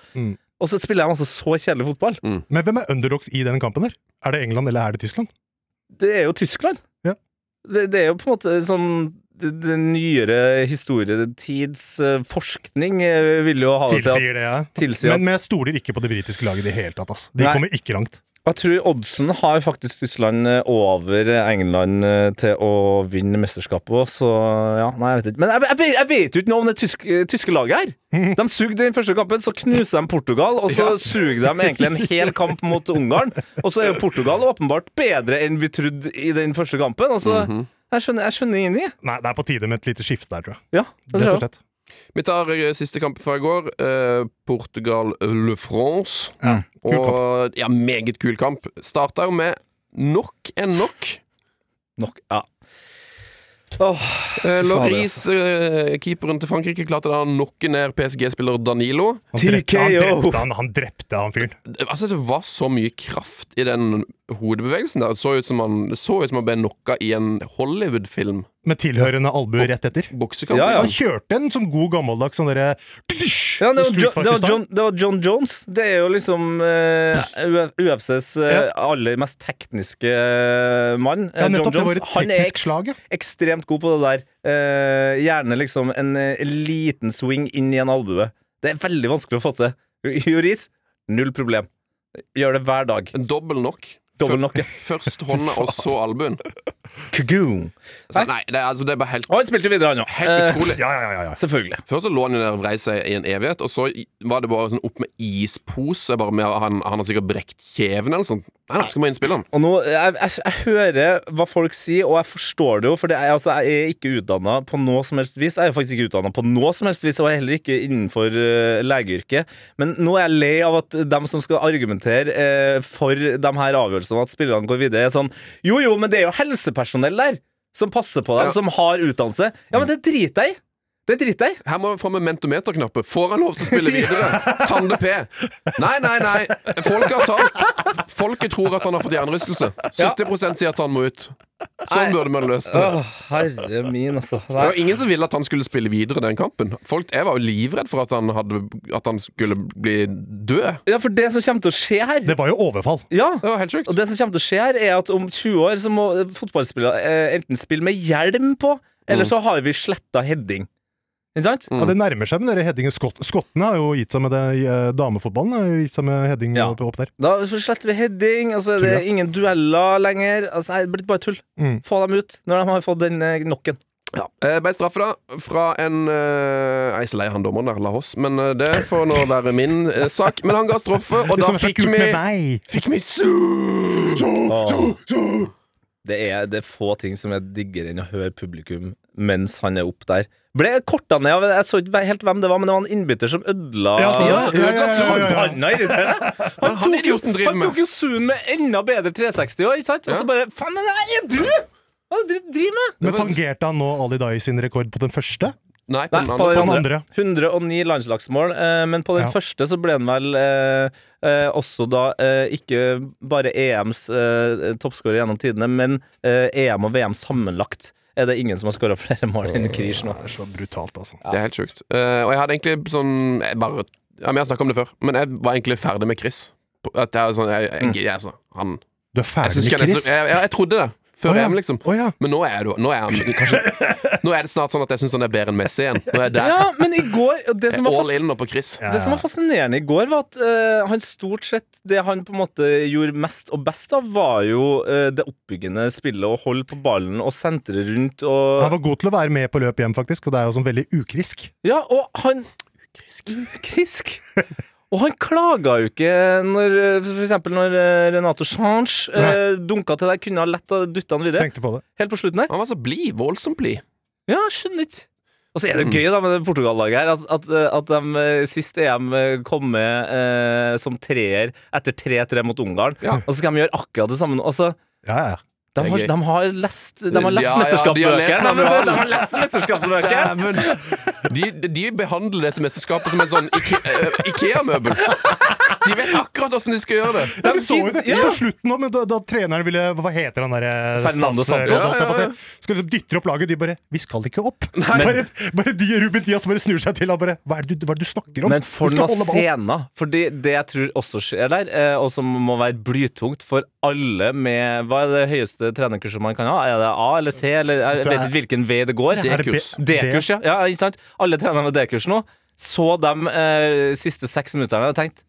Og så spiller de altså så kjedelig fotball.
Men hvem er underdogs i den kampen der? Er det England eller er det Tyskland?
Det er jo Tyskland.
Ja.
Det, det er jo på en måte sånn det- Den nyere historietids eh, forskning eh, vil jo ha det til at
Tilsier det, ja.
tilsier at-
Men, men jeg stoler ikke på det britiske laget i det hele tatt. Ass. De
Nei.
kommer ikke langt.
Jeg tror oddsen har faktisk Tyskland eh, over England eh, til å vinne mesterskapet òg, så ja, nei, jeg vet ikke. Men jeg, jeg, vet- jeg vet jo ikke noe om det tysk, eh, tyske laget
Mhm.
her. De sugde den første kampen, så knuser de Portugal, og så suger de egentlig en hel kamp mot Ungarn. Og så er jo Portugal åpenbart bedre enn vi trodde i den første kampen, og så
Mhm.
Jeg skjønner, jeg skjønner ingenting, jeg.
Nei, det er på tide med et lite skifte der, tror jeg.
Ja, det tror
Rett
jeg
og
også.
slett.
Vi tar eh, siste kamp fra i går. eh, Portugal-Le France.
kul
og, ja, meget kul kamp. Starta jo med nok enn nok.
Nok, ja. Åh,
Eh,
Fy faen,
Loris, eh, keeperen til Frankrike, klarte da å knocke ned PSG-spiller Danilo.
Han drepte, han,
TKO.
drepte han, han drepte han fyren.
Det- Altså, det var så mye kraft i den hodebevegelsen der. Det så ut som han, det så ut som han ble knocka i en Hollywood-film.
Med tilhørende albue rett etter.
Boksekamp.
Ja, ja.
liksom.
Han kjørte en sånn god gammeldags sånn derre
ja, det, var
Street
John, det, var
Fighter-style.
John, det var John Jones. Det er jo liksom eh, U- UFCs eh, aller mest tekniske eh, mann. Eh,
Ja, nettopp. Det
John
var
Jones.
et
Han er
teknisk slag, ja.
ekstremt god på det der. Eh, gjerne liksom en eh, liten swing inn i en albue. Det er veldig vanskelig å få til. Juris, null problem. Gjør det hver dag.
En dobbel nok.
Dobbel nokke.
Først hånda, og så albuen.
Kagoon.
Så, nei, det, er- altså, det er bare helt,
Og han spilte jo videre, han òg.
helt utrolig.
Ja, ja, ja, ja, ja.
selvfølgelig.
Først så lå han jo der og vrei seg i en evighet, og så i- var det bare sånn opp med ispose. Bare med, han, han har sikkert brekt kjeven eller sånt. Nei, nei, skal bare innspille han.
Og nå, jeg, jeg, jeg hører hva folk sier, og jeg forstår det jo, for det er, altså, jeg er ikke utdanna på noe som helst vis. Jeg er jo faktisk ikke utdanna på noe som helst vis, og jeg er heller ikke innenfor eh, legeyrket. Men nå er jeg lei av at dem som skal argumentere eh, for de her avgjørelsene, at spillerne går videre, er sånn Jo, jo, men det er jo helsepersonell der som passer på dem,
Ja.
som har utdannelse. Ja, men det driter jeg i. Det driter jeg i.
Her må vi fram med mentometerknapper. Får han lov til å spille videre? Tande P. Nei, nei, nei. Folket har talt. Folket tror at han har fått hjernerystelse. 70 sier at han må ut.
Nei.
Sånn burde man løst det.
Å, herre min, altså.
Det
Nei.
var ingen som ville at han skulle spille videre den kampen. Folk, jeg var jo livredd for at han, hadde, at han skulle bli død.
Ja, for det som kommer til å skje her
Det var jo overfall.
Ja,
Det var helt sjukt.
Og det som kommer til å skje her, er at om 20 år så må eh, fotballspillere eh, enten spille med hjelm på, eller så har vi sletta heading. Ikke sant?
Ja, det nærmer seg med dere headingen. Skott, skottene har jo gitt seg med det i eh, damefotballen. Har jo gitt seg med heading
Ja.
opp, opp der.
Da så sletter vi heading, og så er det
Tull,
ingen dueller lenger. Altså, nei, det blir bare tull.
Mm.
Få dem ut når de har fått den eh, knocken.
Eh, Ble straffe, da, fra en eh, Jeg er så lei han dommeren der, la oss, men eh, det får nå være min eh, sak. Men han ga straffe, og
Det
da
som er så
fikk
kult
vi
med meg.
Fikk vi sur!
Det er, det er få ting som jeg digger enn å høre publikum mens han er opp der. Ble korta ned av Jeg så ikke helt hvem det var, men det var en innbytter som ødela
Ja, for- ja, ja, ja, ja, ja, ja.
Forbanna irriterende! Han,
han
tok jo-
idioten driver
han
med.
tok jo Sun med enda bedre 360 år, ikke sant? Og
Ja.
så bare Faen, men det er du! Hva er det du driver med?
Men tangerte han nå Ali Dai sin rekord på den første?
Nei, på
Nei,
den
på
andre.
den
andre.
andre. 109 landslagsmål, eh, men på den
Ja.
første så ble han vel eh, eh, også da eh, ikke bare EMs eh, toppskårer gjennom tidene, men eh, EM og VM sammenlagt er det ingen som har skåra flere mål enn Krish nå.
Det er så brutalt, altså.
Det er helt sjukt. Eh, og jeg hadde egentlig sånn Jeg bare ja, men Jeg har snakka om det før, men jeg var egentlig ferdig med Chris. På- At jeg, er sånn, jeg, jeg, jeg, altså, han
Du er
Jeg,
Mm. ferdig
synes ikke
med
han er
Chris?
så, jeg, jeg, jeg trodde det. Før
Å ja.
EM, liksom.
Å ja.
Men nå er, du, nå, er han, kanskje, nå er det snart sånn at jeg syns han er bedre enn Messi igjen. Nå er jeg der.
Ja, men i går og det
Jeg
som,
er
var
all
fas
in nå på Chris.
det som var fascinerende i går, var at eh, han stort sett Det han på en måte gjorde mest og best av, var jo eh, det oppbyggende spillet å holde på ballen og sentre rundt og
Han var god til å være med på løp hjem, faktisk, og det er jo sånn veldig ukrisk.
Ja, og han Ukrisk. Og han klaga jo ikke når eh, For eksempel når eh, Renato Sanche eh, dunka til deg, kunne ha lett ha dytta han videre.
Tenkte på det.
Helt på slutten her.
Han var så blid. Voldsomt blid.
Ja, skjønner ikke. Og så er
Mm.
det jo gøy da med det Portugal-laget her, at, at, at de eh, sist EM eh, kom med eh, som treer etter 3-3 mot Ungarn. Og så skal de gjøre akkurat det samme. nå. Altså,
Ja, ja.
de
Det er
har,
gøy.
de har lest, de har lest
Ja, ja, de
mesterskapsbøkene! De,
har lest manualen.
har lest mesterskapsbøkene!
Dæven! De, de behandler dette mesterskapet som et sånn Ike- eh, Ikea-møbel. De vet akkurat åssen de skal gjøre det.
Ja, vi så jo det
Ja.
på slutten nå, men da, da treneren ville Hva heter han eh, derre
Fernando Santos.
Skal liksom dytter opp laget, de bare Vi skal ikke opp! Bare, bare de og Ruben Diaz bare snur seg til og bare Hva er det du, hva er det du snakker om?
Men for
Vi skal
noen
holde ballen.
scener! Fordi det jeg tror også skjer der, eh, og som må være blytungt for alle med Hva er det høyeste trenerkurset man kan ha? Er det A eller C, eller jeg
det
vet
er-
ikke hvilken vei det går?
Er det
D-kurs.
be-
D-kurs, ja. ja. Ikke sant? Alle trener med D-kurs nå. Så de eh, siste seks minuttene og tenkt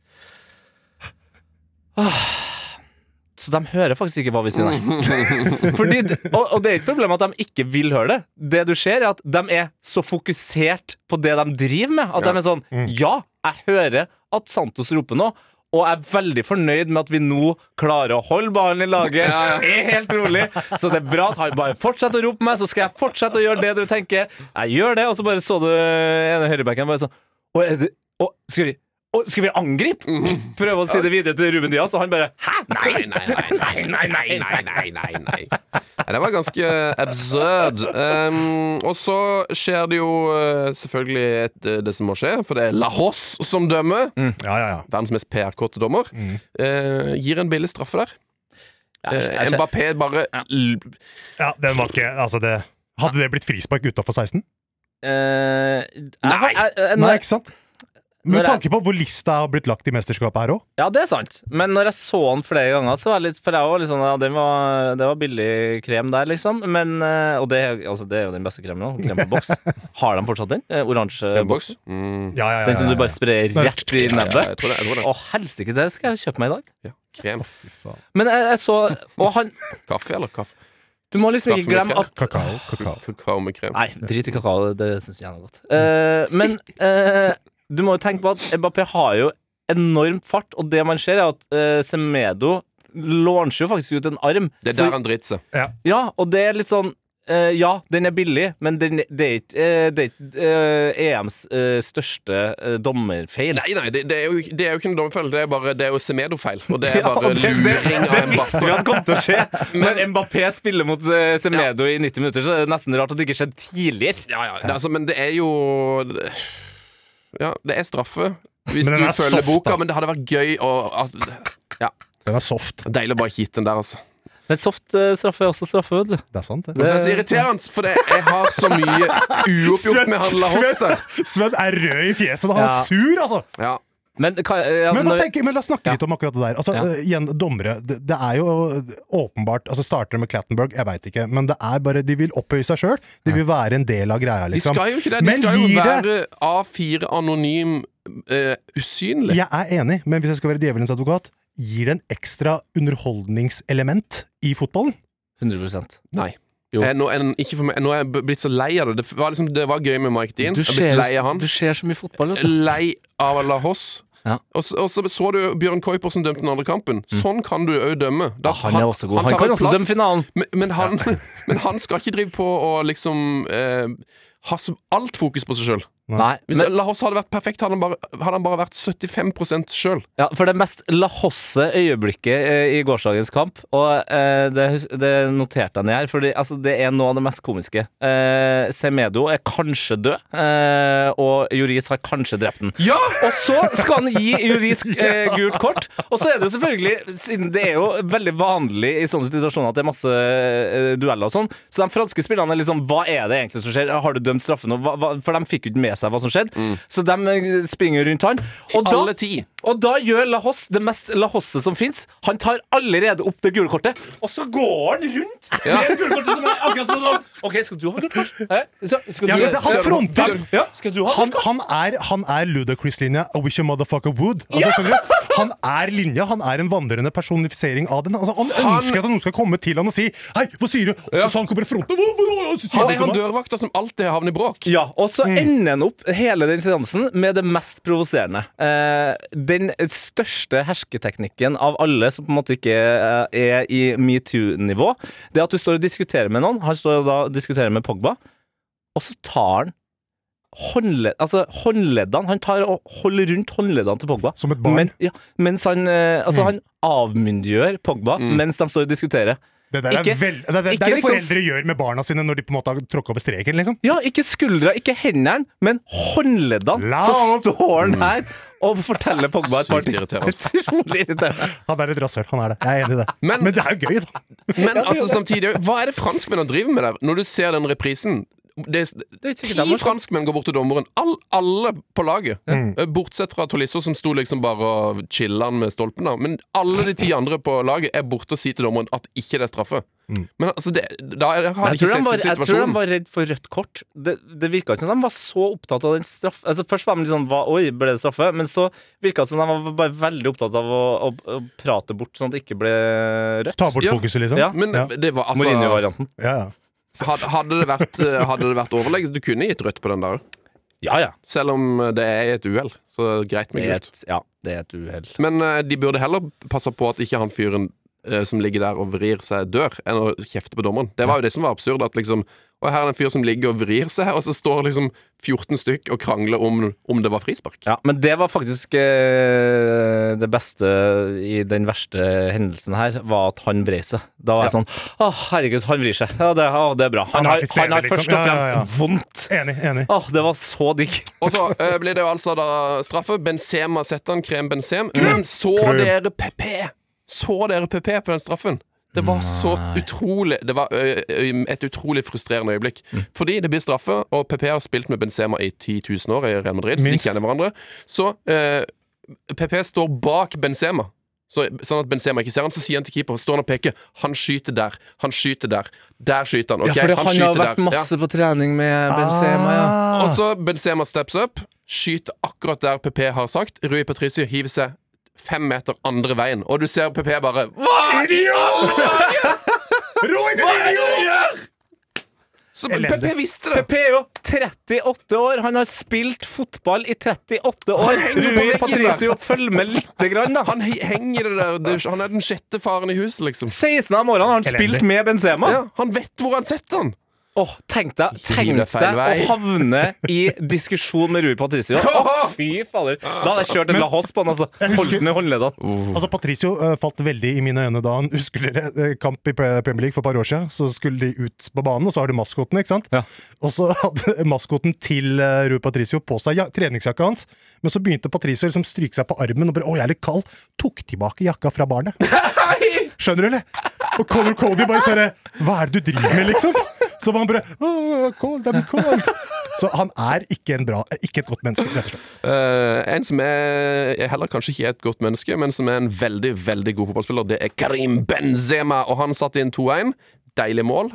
«Åh». Så de hører faktisk ikke hva vi sier, nei. Fordi, og, og det er ikke problemet at de ikke vil høre det. Det du ser, er at de er så fokusert på det de driver med, at
Ja.
de er sånn Ja, jeg hører at Santos roper nå. Og jeg er veldig fornøyd med at vi nå klarer å holde ballen i laget. Er helt rolig. Så det er bra at han bare fortsetter å rope på meg, så skal jeg fortsette å gjøre det du tenker. Jeg gjør det, og så bare så du ene høyrebacken bare sånn «Å, er det, å, skal, vi, å, skal vi angripe? Prøve å si det videre til Ruben Diaz, og han bare Hæ? Nei!
Nei, nei, nei, nei, nei, nei, nei, nei, nei. Nei, Det var ganske absurd. Um, og så skjer det jo eh, selvfølgelig et, eh, det som må skje, for det er Lahos som dømmer.
Ja, ja, ja.
Verdens mest PR-kåte dommer.
Mm.
eh, gir en billig straffe der. Eh, Mbappé bare l-
ja den var ikke Altså, det Hadde det blitt frispark utafor 16?
Nei.
Nei, ikke sant?
Når
Med
jeg-
tanke på hvor lista har blitt lagt i mesterskapet her òg.
Ja, det er sant. Men når jeg så han flere ganger, så var jeg litt For jeg var litt sånn Ja, det var, det var billig krem der, liksom. Men eh, Og det, er- altså, det er jo den beste kremen nå. Krem på boks. Har de fortsatt den? Eh, Oransje boks?
boks. Mm,
Ja, ja, ja,
Den som
ja,
du
ja.
bare sprer rett i
jeg
nebbet?
tror det. Jeg tror det.
Å, helsike, det skal jeg kjøpe meg i dag.
Ja, krem.
Fy faen.
Men jeg, jeg så Og han
Kaffe eller kaffe?
Du må liksom ikke
Kaffe med
glemme at
Kakao, kakao.
Kakao med krem.
Nei, drit i kakao, det syns jeg er godt. Eh, men eh, du må jo tenke på at Mbappé har jo enorm fart, og det man ser, er at eh, Semedo launcher jo faktisk ut en arm.
Det
Så-
er der han driter seg.
ja, og det er litt sånn eh, ja, den er billig, men den, det er ikke, eh, det er ikke eh, EMs eh, største eh, dommerfeil.
Nei, nei, det, det, er jo, ikke- det er jo ikke en dommerfeil, det er bare Det er jo Semedo-feil. Og det er
Ja, og
bare
det- det-
luring av
Det visste vi
Mbappé.
at kom til å skje. Når Mbappé spiller mot eh, Semedo i 90 minutter, så er det nesten rart at det ikke skjedde tidligere.
Ja, ja, det, altså, men det er jo Ja, det er straffe. Hvis
Men den
du
er
følger
soft,
boka,
da.
men det hadde vært gøy å at, Ja.
Den er soft.
Deilig å bare hitte den der, altså.
Men soft eh, straffe er også straffe, vet du.
Det er sant,
Men
det.
så er
Eh,
det så irriterende, for det, jeg har så mye uoppgjort med handla hos
Sven,
der.
Sven er rød i fjeset. Han
Ja.
er sur, altså!
Ja.
Men, hva- eh, ja,
Men, hva
når-
tenker, men la oss snakke litt om akkurat det der. Altså,
Ja.
eh, igjen, Dommere. Det, det er jo åpenbart altså Starter med Clattenburg, jeg veit ikke. Men det er bare, de vil opphøye seg sjøl. De vil være en del av greia,
De
liksom.
skal jo ikke det. De
Men
skal jo
gir det-
være A4 anonym, eh, usynlig.
Jeg er enig, men hvis jeg skal være djevelens advokat, gir det en ekstra underholdningselement i fotballen?
100
Nei.
Jo.
Eh, nå, er den, ikke for meg, nå er jeg b- blitt så lei av det. Det var, liksom, det var gøy med Mike Dean.
du
Jeg er blitt
ser,
lei av han.
du ser så mye fotball, vet du.
Lei av La Hoss.
Ja.
Og, så, og så så du Bjørn Kuipersen dømte den andre kampen. Sånn kan du òg dømme.
Ja,
Da-
Ah, han er også god. Han
tar
kan
en
også
plass,
dømme finalen.
Men, men, han, men han skal ikke drive på og liksom eh, ha så, alt fokus på seg sjøl.
Nei,
Hvis La Hoss hadde vært perfekt, hadde han bare, hadde han bare vært 75 sjøl.
Ja, for det mest lahosse øyeblikket eh, i gårsdagens kamp, og eh, det, hus- det noterte jeg ned her, for altså, det er noe av det mest komiske. Eh, Semedo er kanskje død, eh, og Joris har kanskje drept den.
Ja!
Og så skal han gi Joris eh, gult kort, og så er det jo selvfølgelig, siden det er jo veldig vanlig i sånne situasjoner at det er masse eh, dueller og sånn, så de franske spillerne er liksom, hva er det egentlig som skjer? Har du dømt straffen? Og Hva, hva, for de fikk jo ikke med seg hva som skjedde, så de eh, springer rundt han. Og da-
Mm. Alle ti.
og da gjør Lahos det mest Lahosse som fins. Han tar allerede opp det gule kortet, og så går han rundt med gule kortet som er akkurat sånn sånn. OK, skal du ha gult kort? Hæ? Skal, skal
Ja,
du,
men det, han
Søren-
fronter!
Søren-
ja, skal du ha
Han,
gult kort?
han er, han er Ludacris-linja. I wish a motherfucker would. Altså, skjønner du? Han er linja. Han er en vandrende personifisering av den. Altså, han ønsker at noen skal komme til han og si Hei, hva sier du? Og Så, så han kommer i fronten. Hva, hva, hva, hva, sier
Han
du
er
til
han
meg?
dørvakta som alltid havner i bråk.
Ja, og så
Mm.
ender han opp hele den seansen med det mest provoserende. Eh, den største hersketeknikken av alle som på en måte ikke eh, er i metoo-nivå, det er at du står og diskuterer med noen. Han står og da og diskuterer med Pogba, og så tar han håndledd, altså, håndleddene Han tar og holder rundt håndleddene til Pogba.
Som et barn. Mm.
Men, ja, mens han eh, altså, han avmyndiggjør Pogba mens de står og diskuterer.
Det der
Ikke-
er vel, det, det,
ikke
det er det
liksom-
foreldre gjør med barna sine når de på en måte har tråkka over streken, liksom.
Ja, ikke skuldra, ikke hendene, men håndleddene.
La
Så
oss- Mm.
står han her og forteller Pogba et par
Sykt
ting.
irriterende.
Utrolig irriterende.
Han er et rasshøl, han er det. Jeg er enig i det.
Men-
Men, det er jo gøy, da.
Men altså, samtidig, hva er det franskmennene driver med der? Når du ser den reprisen det, er
sikkert
Ti
dem også.
franskmenn går bort til dommeren. All, alle på laget.
Mm.
Eh, Bortsett fra Tolisso, som sto liksom bare og chilla med stolpen. da. Men alle de ti andre på laget er borte og sier til dommeren at ikke det er straffe.
Mm.
Men altså, det, da er- har de
Jeg tror,
ikke
de
sett
var,
til
jeg tror de
situasjonen.
var redd for rødt kort. Det, det virka ikke som de var så opptatt av den straff... Altså Først var de litt sånn hva, Oi, ble det straffe? Men så virka det som de var bare veldig opptatt av å, å, å prate bort sånn at det ikke ble rødt.
Ta bort
Ja.
fokuset, liksom.
Ja.
Men
Ja.
det var altså
Mourinho-varianten.
Ja, ja.
had- hadde, det vært, eh, hadde det vært overlegg, du kunne gitt rødt på den der.
Ja, ja.
Selv om det er et uhell, så greit
Det
med
er
gult.
et, ja, det er et uhell.
Men eh, de burde heller passe på at ikke han fyren eh, som ligger der og vrir seg, dør, enn å kjefte på dommeren. Det var jo det som var absurd. At liksom Og her er det en fyr som ligger og vrir seg, og så står liksom 14 stykk og krangler om, om det var frispark.
Ja, men det var faktisk eh, det beste i den verste hendelsen her, var at han vred seg. Da var jeg sånn Å, herregud, han vrir seg. Ja, det, å, det er bra. Han,
er
har,
til stede,
han har
liksom.
først og
Ja,
fremst
ja, ja.
vondt.
Enig, enig.
Å, det var så digg.
Og så eh, blir det jo altså da straffe. Benzema setter han, krem Benzem.
Mm.
Men så
Krem.
dere PP! Så dere PP på den straffen? Det var så utrolig Det var ø, ø, et utrolig frustrerende øyeblikk.
Mm.
Fordi det blir straffe, og PP har spilt med Benzema i 10 000 år i Real Madrid. Så de
Minst.
kjenner hverandre. Så eh, PP står bak Benzema. Så, sånn at Benzema ikke ser han, så sier han til keeper Står han og peker. Han skyter der. Han skyter der. Der skyter han. ok,
ja, for
han,
han, har
skyter
vært
der. Ja.
masse på trening med Benzema, ja.
Og så Benzema steps up, skyter akkurat der PP har sagt. Rui Patricio hiver seg fem meter andre veien, og du ser PP bare Hva
Idiot! Roy, din idiot!
Så
Elendig.
PP visste det!
PP er jo 38 år. Han har spilt fotball i 38 år.
jo på
Rui
veggen
Patricio følger med lite grann, da.
Han he- henger i det der. Det- Han er den sjette faren i huset, liksom.
16 av morgenen har han
Elendig.
spilt med Benzema.
Ja, han vet hvor han setter han!
Åh, tenk deg, tenk
Livet er
deg å
feil vei.
havne i diskusjon med Rui Patricio. Åh, fy fader. Da hadde jeg kjørt en La Hoss på han, altså. Holdt den i håndleddene.
Altså, Patricio eh, falt veldig i mine øyne da han husker dere eh, kamp i Pre- Premier League for et par år siden. Så skulle de ut på banen, og så har du maskoten, ikke sant?
Ja.
Og så hadde maskoten til eh, Rui Patricio på seg ja, treningsjakka hans, men så begynte Patricio liksom stryke seg på armen og bare 'Å, jeg er litt kald'. Tok tilbake jakka fra barnet. Skjønner du, eller? Og Conor Cody bare sånn 'Hva er det du driver med', liksom? Som han bare «Åh, cold, I'm cold. Så han er ikke, en bra, ikke et godt menneske, rett og slett.
Eh, en som er er heller kanskje ikke er et godt menneske, men som er en veldig veldig god fotballspiller, det er Karim Benzema. Og han satte inn 2-1. Deilig mål.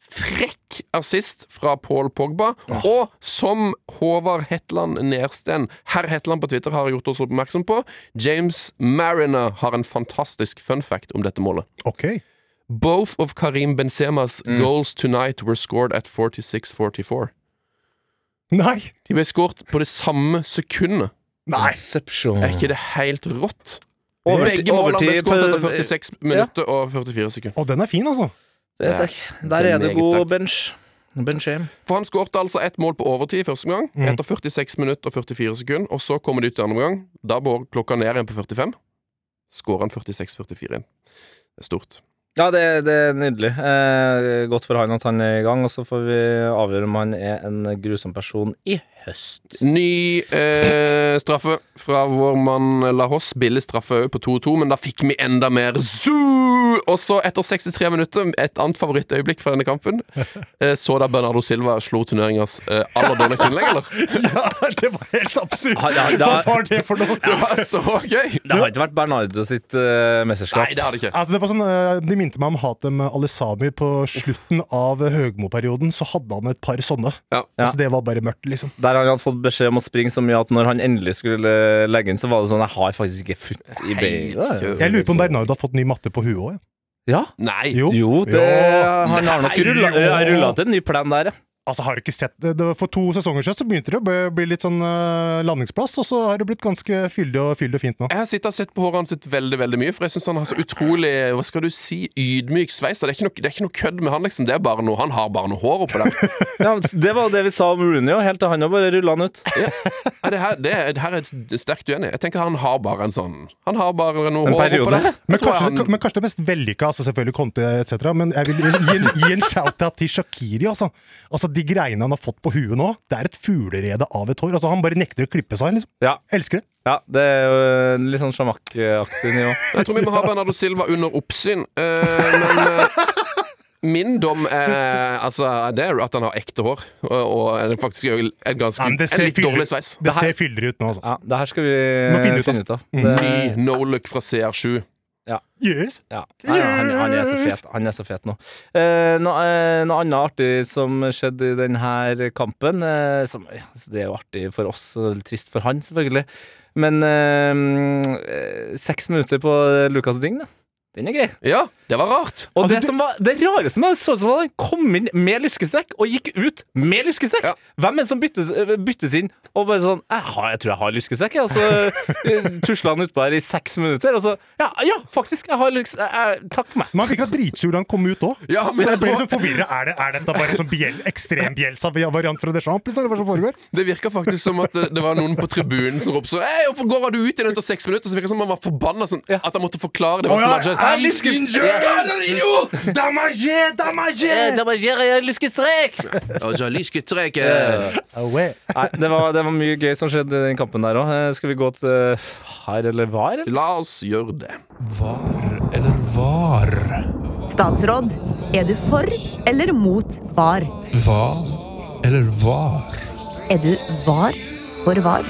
Frekk assist fra Paul Pogba. Og som Håvard Hetland Nersten, herr Hetland på Twitter, har gjort oss oppmerksom på, James Mariner har en fantastisk fun fact om dette målet.
Ok.
Both of Karim Benzemas goals tonight were scored at 46-44.
Nei!
De ble skåret på det samme sekundet.
Nei!
Inception.
Er ikke det helt rått?
Overtid-
Begge målene ble
overtid
skåret etter
på-
46 minutter og 44 sekunder.
Og den er fin, altså.
Det er sterk. Der er
Det er
det
meget
god
sterkt.
bench. Benchame.
For han skårte altså ett mål på overtid i første omgang, etter 46 minutter og 44 sekunder, og så kommer de ut i andre omgang. Da går klokka ned igjen på 45. Skårer han 46-44 igjen. Det er stort.
Ja, det, det er nydelig. Eh, godt for han at han er i gang, og så får vi avgjøre om han er en grusom person i høst.
Ny eh, straffe fra vår mann Lahos. Billig straffe òg på 2-2, men da fikk vi enda mer zoo! Og så, etter 63 minutter, et annet favorittøyeblikk fra denne kampen, eh, så da Bernardo Silva slo turneringas eh, aller dårligste innlegg, eller?
Ja, det var helt absurd!
Ja, ja, da-
Hva var det for noe?
Det var så gøy!
Det har ikke vært Bernardo sitt eh, mesterskap.
Nei, det hadde ikke.
Altså, det var sånn, eh, de minte meg om Hatem Alesami på slutten av Høgmo-perioden. Så hadde han et par sånne.
Ja.
Altså, det var bare mørkt, liksom.
Der han hadde fått beskjed om å springe så mye at når han endelig skulle legge inn, så var det sånn Jeg har faktisk ikke futt i beina.
Jeg lurer på om Bernardo har fått ny matte på huet òg.
Ja.
Nei.
Jo.
liksom- Jo, det,
Ja.
han har nok
Nei,
rulla
jo.
rulla til en ny plan der, ja.
Altså, har du ikke sett det, det var For to sesonger siden så begynte det å bli- bli litt sånn eh, landingsplass, og så har det blitt ganske fyldig og, fyldig og fint nå.
Jeg har sittet og sett på håret hans sitt veldig veldig mye, for jeg syns han har så utrolig hva skal du si, ydmyk sveis. Det er ikke noe, det er ikke noe kødd med han, liksom. Det er bare noe, Han har bare noe hår oppå der.
Ja, det var det vi sa om Rooney, og helt til han jo bare rulla han ut.
Ja. Nei, det, her, det, det her er jeg sterkt uenig. Jeg tenker Han har bare en sånn Han har bare noe
En
hår
periode.
oppå der. Jeg
Men
tror jeg
kanskje,
Altså, han-
men kanskje det mest vellykka, altså selvfølgelig Conte etc., men jeg vil gi en, gi en shout-out til Shakiri, altså. Altså, De greiene han har fått på huet nå, det er et fuglerede av et hår. Altså, Han bare nekter å klippe seg, liksom.
Ja,
Elsker det.
ja det er jo eh, litt sånn sjamakk-aktig nivå.
Jeg tror vi må ha Bernardo Silva under oppsyn. eh, men eh, min dom er altså, det er at han har ekte hår. Og, og er faktisk jo en ganske
Ja, men det
en litt
fyller-
dårlig sveis.
Det ser fyldigere ut nå, altså.
Ja, det her skal vi
Må finne
eh,
ut av. Mm.
finne ut av. Det,
Ny no look fra CR7.
Yes.
ja. Nei, ja, han, han er så fet Han er så fet nå. Eh, noe, eh, noe annet artig som skjedde i denne kampen eh, som, ja, altså, Det er jo artig for oss, og litt trist for han, selvfølgelig. Men eh, mm, eh, seks minutter på eh, Lucas Ding, da. Den er grei.
Ja, det var rart.
Og det, som var, det rareste med det så ut som han kom inn med lyskesekk og gikk ut med lyskesekk.
Ja.
Hvem er det som byttes, eh, byttes inn og bare sånn jeg, har, 'Jeg tror jeg har lyskesekk', jeg», og så eh, tusla han utpå her i seks minutter. Og så 'Ja, ja faktisk. Jeg har lysk... Jeg, jeg- takk for meg'.
Men han virka dritsur da han kom ut òg.
Ja, men
så
jeg
jeg ble
tror-
liksom forvirra. Er, det, er dette bare en sånn bjel, ekstrem Bjelsa-variant fra Deschamps? Liksom, eller hva som foregår?
Det virka faktisk som at det, det var noen på tribunen som ropte sånn Hei, hvorfor går du ut i den etter seks minutter? Så virka det som om han var forbanna sånn
Ja.
at han måtte forklare det. hva
Å,
som
ja,
hadde skjedd.
jeg er lyske-
Skader, idiot!
Damagé, damagé!
Eh, Da bare gjør jeg lyskestrekk!
Og så lysketrekk.
eh. Nei, det var, det var mye gøy som skjedde i den kampen der òg. Skal vi gå til eh, her eller var? eller?
La oss gjøre det. Var eller var?
Statsråd, er du for eller mot var?
Var eller var?
Er du var for var?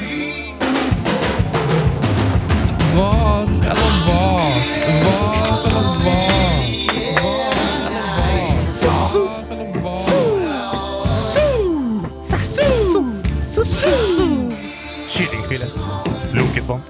Var eller var? Var eller var?
Kyllingfilet. Lukket vann.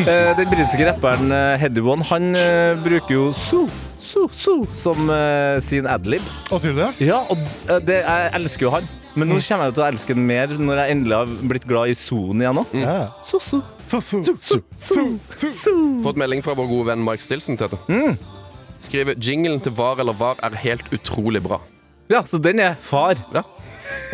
Eh, Den britiske rapperen eh, Heady One Han eh, bruker jo so, so, so som eh, sin adlib.
Og sier du det?
Ja, og eh, det, jeg elsker jo han. Men nå kommer jeg jo til å elske han mer når jeg endelig har blitt glad i Zoen igjen òg.
Ja.
So, so,
Så, så,
so, so, so.
Fått melding fra vår gode venn Mike Stilson til dette.
Mm.
Skriver jinglen til var eller var er helt utrolig bra.
Ja, så den er far.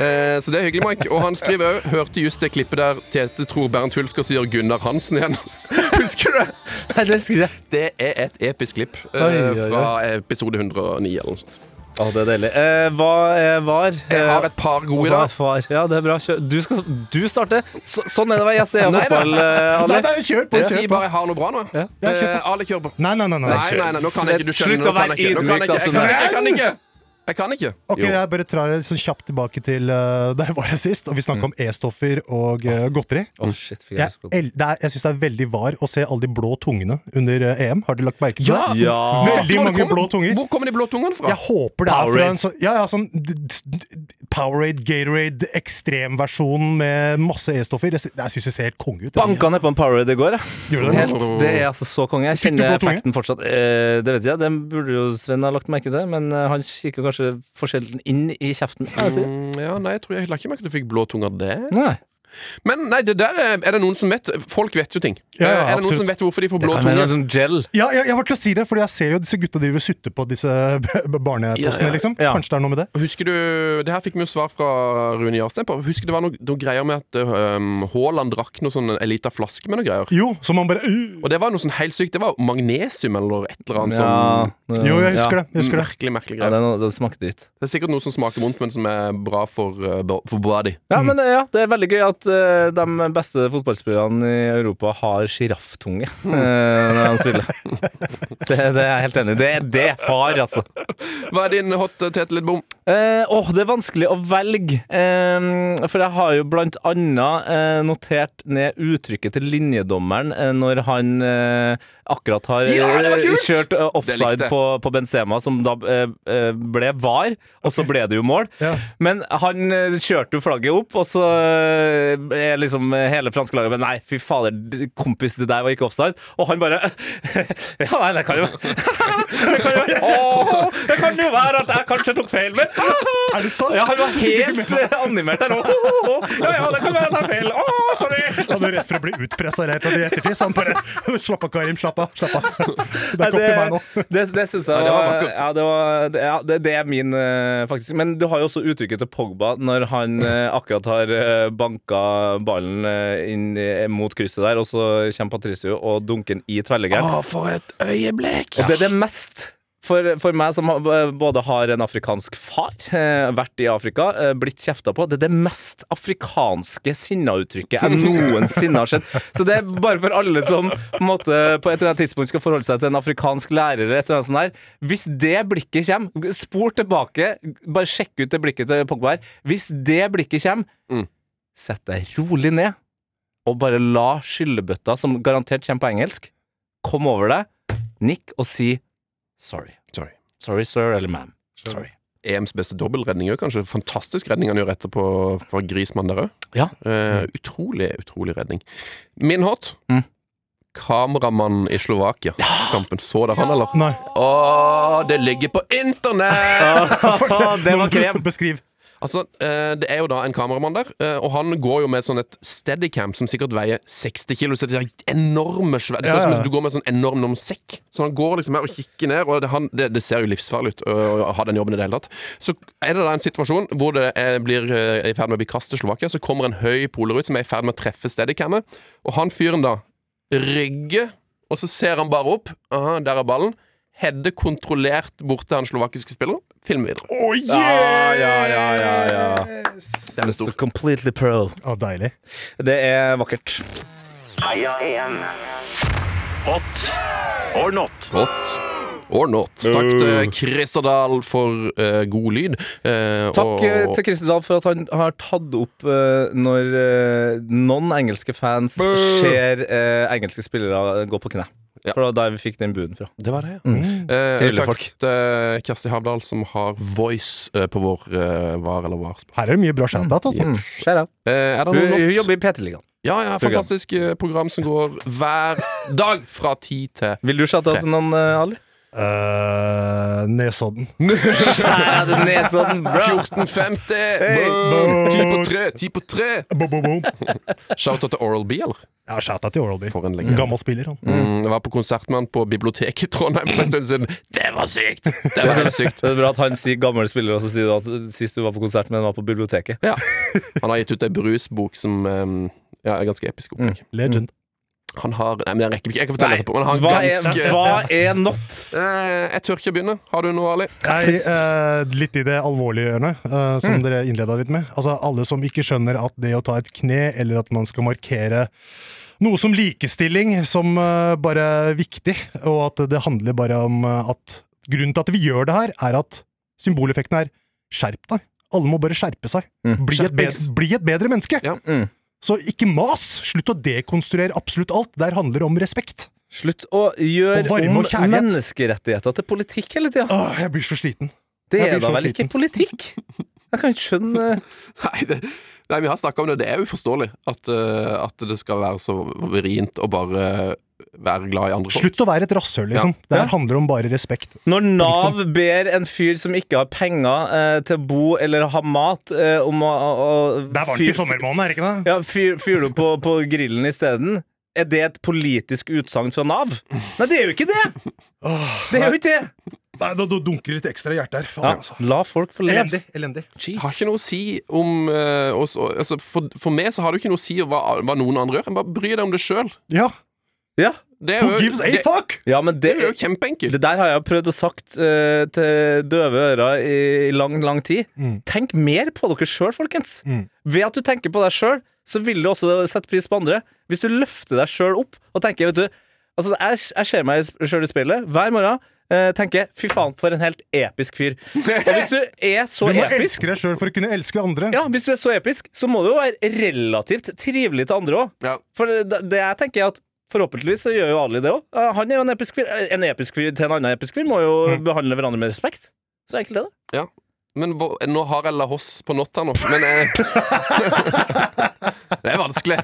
Eh, så det er hyggelig, Mike. Og han skriver òg Hørte just det klippet der Tete tror Bernt Hulsker sier Gunnar Hansen igjen. Husker du det?
Nei, det elsker jeg.
Det er et episk klipp eh,
Oi, oi, oi.
fra episode 109 eller noe sånt.
Å, det er deilig. Eh, hva er var?
Eh,
eh,
Jeg har et par gode i
Hva er
dag.
far? Ja, det er bra. Kjør. Du, skal, du starter. Så, sånn er det å være gjest i fotball, eh,
Nei,
Ali.
nei, kjør på!
Jeg
Kjør
sier
på.
bare jeg har noe bra nå.
Ja.
Ja, kjør på.
Eh, Ali kjører på.
Nei, nei, nei. nei.
Nei, nei, nei, nå kan jeg ikke. Du skjønner,
Slutt
nå
å
kan
være
jeg ikke. Nå kan jeg
ydmyk, da,
ikke. Jeg kan- Jeg kan ikke. Jeg kan ikke.
Ok,
Jo.
Jeg bare drar så kjapt tilbake til uh, der jeg var sist, og vi snakka om E-stoffer og eh, godteri.
Å, shit, fikk jeg
Jeg,
lyst på det.
el- det er- jeg syns det er veldig var å se alle de blå tungene under eh, EM. Har dere lagt merke til det?
Ja.
Veldig
Hvor
mange
kommer-
blå tunger.
Hvor kommer de blå tungene fra?
Jeg håper det er fra
Powerade.
en sånn ja, ja, sånn d- d- d- Powerade, Gatorade, ekstremversjon med masse E-stoffer. Jeg, sy- jeg syns det ser helt konge ut.
Banka ned på en Powerade i går, jeg.
Gjorde det?
Helt, det er altså så konge. Jeg
Fikk du
kjenner
blå tunge?
effekten fortsatt. Eh, det vet jeg, den burde jo Sven ha lagt merke til, men eh, han kikker kanskje for sjelden inn i kjeften. Jeg vet ikke.
Mm, Ja, nei, jeg tror jeg la ikke merke til at du fikk blå tunger der.
Nei.
Men nei, det der er, er det noen som vet Folk vet jo ting. Eh,
Ja, ja,
er det noen
absolutt.
som vet hvorfor de får blå
Kan være
tunge?
noe sånn gel.
Ja, jeg, jeg var til å si det, fordi jeg ser jo disse gutta driver og sutter på disse b- b- barnepostene,
Ja, ja,
liksom.
ja.
Kanskje det er noe med det?
Husker du, Det her fikk vi jo svar fra Rune Jarstein på. Husker det var noe, noe greier med at øhm, Haaland drakk noe sånn, en liten flaske med noe greier?
Jo, så man bare øh.
Og det var noe sånn helt sykt. Det var magnesium eller et eller annet sånn
Jo, jeg husker det. Jeg husker det.
merkelig, merkelig
eh, Ja,
greie.
den, den smakte dritt.
Det er sikkert noe som smaker vondt, men som er bra for, øh, bo- for body.
Ja, men eh, ja, det er veldig gøy at eh, de beste fotballspillerne i Europa har sjirafftunge eh, når de spiller. Det, det er jeg helt enig i. Det, det er far, altså.
Hva er din hot eh, Tete Lidbom?
Eh, åh, det er vanskelig å velge. Eh, for jeg har jo blant annet eh, notert ned uttrykket til linjedommeren eh, når han eh, akkurat har eh,
Ja, det var kult!
kjørt eh,
Det likte
offside
jeg.
på, på Benzema, som da eh, eh, ble var, og så ble det jo mål.
Ja.
Men han eh, kjørte jo flagget opp, og så eh, er liksom hele franske laget Men nei, fy fader, d- kompis, det der var ikke offside. Og han bare Ja, nei, det kan jo Det kan jo, Åh, det kan jo være at jeg kanskje tok feil, men
Er det sant?
Ja, han var helt eh, animert der nå. Ja, ja, det kan være at jeg tar feil. Å, sorry.
Han er rett for å bli utpressa eller et eller annet i ettertid, så han bare Slapp av, Karim. Slapp av. slapp av. Det er ikke opp til meg nå.
Det, det, det syns jeg
Ja, det var
var-
vakkert.
Ja, det, var, det, ja, det, det er min, eh, faktisk. Men du har jo også uttrykket til Pogba når han eh, akkurat har eh, banka ballen eh, inn eh, mot krysset der, og så kommer Patricio og dunker den i tverrliggeren.
for et øyeblikk!
Og det er det mest for, for meg som har- både har en afrikansk far, eh, vært i Afrika, eh, blitt kjefta på, det er det mest afrikanske sinnauttrykket jeg noensinne har sett. Så det er bare for alle som på, en måte, på et eller annet tidspunkt skal forholde seg til en afrikansk lærer. eller Et eller annet sånt der. Hvis det blikket kommer, spor tilbake, bare sjekk ut det blikket til Pogba her. Hvis det blikket kommer, sett deg rolig ned, og bare la skyllebøtta, som garantert kommer på engelsk, komme over deg nikk og si sorry.
Sorry.
Sorry, sir eller ma'am.
EMs beste dobbeltredning òg, kanskje. Fantastisk redning han gjør etterpå fra Grismann der òg.
Ja.
Eh, utrolig, utrolig redning. Min hot
Mm.
Kameramann i Slovakia-kampen. Så dere han, eller?
Nei.
Å, det ligger på internett!
det var krem.
Beskriv.
Altså, eh, Det er jo da en kameramann der, eh, og han går jo med et sånn et steadicam som sikkert veier 60 kilo. Så det er enorme svæ- Det ser ut som
Ja, ja.
at du går med en sånn enorm enorm sekk. Så han går liksom her og kikker ned, og det, han, det, det ser jo livsfarlig ut å å ha den jobben i det hele tatt. Så er det da en situasjon hvor det er, blir eh, i ferd med å bli kastet til Slovakia, så kommer en høy poler ut som er i ferd med å treffe steadicamet, og han fyren da rygger, og så ser han bare opp. Aha, der er ballen. Hedde kontrollert bort til han slovakiske spilleren. Film videre.
Oh,
Ja, ja, ja, ja, ja.
Den er stor.
Completely pro.
Å, deilig.
Det er vakkert.
Heia EM. Hot or not.
Hot or not. Takk til Christer Dahl for eh, god lyd. eh,
Takk
og-
eh, til Christer Dahl for at han har tatt opp eh, når eh, noen engelske fans ser eh, engelske spillere gå på kne.
Ja.
For det var der vi fikk den buden fra.
Det var det, ja. Eh,
Trevlige
takk
Mm. folk.
til Kjersti Havdal, som har voice eh, på vår eh, var eller var.
Her er det mye bra shout-out, altså.
Mm. Skjer av.
Eh, er det
Hun,
noe
hun
not?
jobber i PT-ligaen.
Ja, ja, fantastisk eh, program som går hver dag fra ti til
Vil du chatte
Tre.
til noen, eh, Ali?
Eh, Nesodden.
Skjære det ned sånn, bro!
14.50!
Hey.
Boom. Ti på tre! Ti på tre!
Boom, boom, boom.
Shout-out til Oral B, eller?
Ja, shout-out til Oral-B.
For en legende.
Gammel spiller, han.
Mm, jeg var på konsert med han på biblioteket i Trondheim for en stund siden. Det var sykt! Det var helt sykt.
Det er bra at han sier gammel spiller, og så sier du at sist du var på konsert, men var på biblioteket.
Ja. Han har gitt ut ei brusbok som eh, ja, er ganske episk opplegg.
Legend.
Han har Mm. Nei, men jeg rekker ikke. Jeg kan fortelle
Nei,
etterpå. Men han
hva,
har ganske
er, hva er not?
Eh, Jeg tør ikke begynne. Har du noe, Ali?
Nei, eh, litt i det alvorlige hjørnet, eh, som dere innleda litt med. Altså, Alle som ikke skjønner at det å ta et kne, eller at man skal markere noe som likestilling som eh, bare er viktig, og at det handler bare om eh, at Grunnen til at vi gjør det her, er at symboleffekten er skjerp deg. Alle må bare skjerpe seg.
Mm.
Bli, et bedre, bli et bedre menneske!
Ja.
Mm.
Så ikke mas! Slutt å dekonstruere absolutt alt. Der handler det om respekt.
Slutt å gjøre
Og varme
om
og kjærlighet.
menneskerettigheter til politikk hele tida.
Åh, jeg blir så sliten.
Det
jeg
er
blir
da
så
vel ikke
sliten.
politikk? Jeg kan ikke skjønne
Nei, det, nei, vi har snakka om det. Det er uforståelig at, eh, at det skal være så vrient å bare være glad i andre folk.
Slutt å være et rasshøl, liksom. Det her handler om bare respekt.
Når Nav ber en fyr som ikke har penger eh, til å bo eller ha mat, eh, om å, å, å
Det er varmt i sommermåneden, er det ikke det?
Ja, fyr, fyr du på, på grillen isteden? Er det et politisk utsagn fra Nav? Nei, det er jo ikke det! Det er jo ikke det!
Nei, da, da dunker det litt ekstra i hjertet her. Faen,
Ja,
altså.
la folk få leve.
Elendig. elendig.
Det har ikke noe å si om eh, oss, altså, for, for meg så har det ikke noe å si hva, hva noen andre gjør. Bare bry deg om det sjøl.
Ja.
Ja.
Det er
Who
jo,
gives a
det,
fuck?
ja, men
det
det
er jo kjempeenkelt.
Det der har jeg prøvd å sagt eh, til døve ører i, i lang, lang tid.
Mm.
Tenk mer på dere sjøl, folkens. Ved at du tenker på deg sjøl, så vil du også sette pris på andre. Hvis du løfter deg sjøl opp og tenker vet du, altså Jeg, jeg ser meg sjøl i speilet hver morgen. eh, tenker 'fy faen, for en helt episk fyr'. Og hvis du er så
Du må
episk
elske deg sjøl for å kunne elske andre.
ja, Hvis du er så episk, så må du jo være relativt trivelig til andre òg.
Ja.
For det, det jeg tenker er at Forhåpentligvis så gjør jo Ali det òg. Han er jo en episk fyr. Eh, En episk fyr til en annen episk fyr må jo behandle hverandre med respekt. Så enkelt er det.
Ja. Men hva- nå har jeg La Hoss på natta nå, men eh, Det er vanskelig.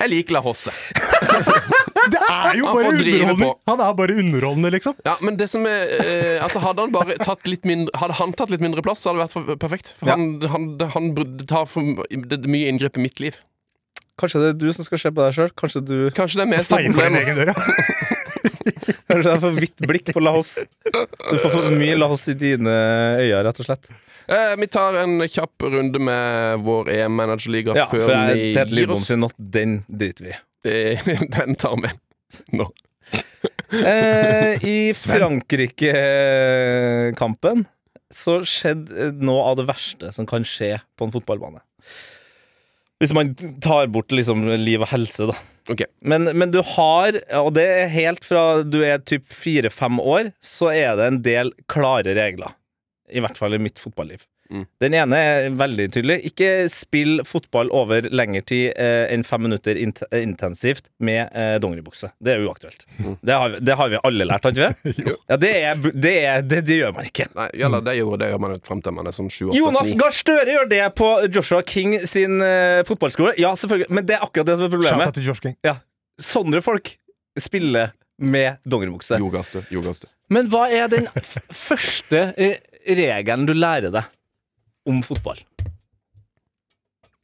Jeg liker La Hosse.
Det er jo
Han
bare
får drive
underholdning!
på.
Han er bare underholdende, liksom.
Ja, men det som er eh, Altså Hadde han bare tatt litt mindre Hadde han tatt litt mindre plass, så hadde det vært for, perfekt. For
Ja.
han, han, han br- tar for det er mye inngrep i mitt liv.
Kanskje det er du som skal se på deg sjøl? Kanskje du
Kanskje det er vi som
Feier for en
problemet.
egen dør, ja.
Kanskje det er for vidt blikk på La Oss? Du får for mye La Oss i dine øyne, rett og slett.
Eh, vi tar en kjapp runde med vår EM-managerliga
Ja,
før
for jeg,
vi
Ted
gir
Lidbom
oss.
sin not, den driter vi i.
Det- Den tar vi nå.
Eh, I Frankrike-kampen så skjedde eh, noe av det verste som kan skje på en fotballbane. Hvis man tar bort liksom liv og helse, da.
Ok.
Men, men du har, og det er helt fra du er typ fire-fem år, så er det en del klare regler. I hvert fall i mitt fotballiv.
Mm.
Den ene er veldig tydelig. Ikke spill fotball over lengre tid eh, enn fem minutter int intensivt med eh, dongeribukse. Det er uaktuelt. Det, har, vi- det har vi alle lært, har ikke vi? ja, det, er, bu- det, er, det, det gjør man ikke.
Nei, eller det gjør, det gjør man jo frem til man er sånn 7
Jonas Gahr Støre gjør det på Joshua King sin eh, fotballskole. Ja, selvfølgelig, men det er akkurat det som er problemet.
Shout-out til Josh King.
Ja, sånne folk spiller med dongeribukse.
Jordgaste. Jordgaste.
Men hva er den f første eh, regelen du lærer deg om fotball?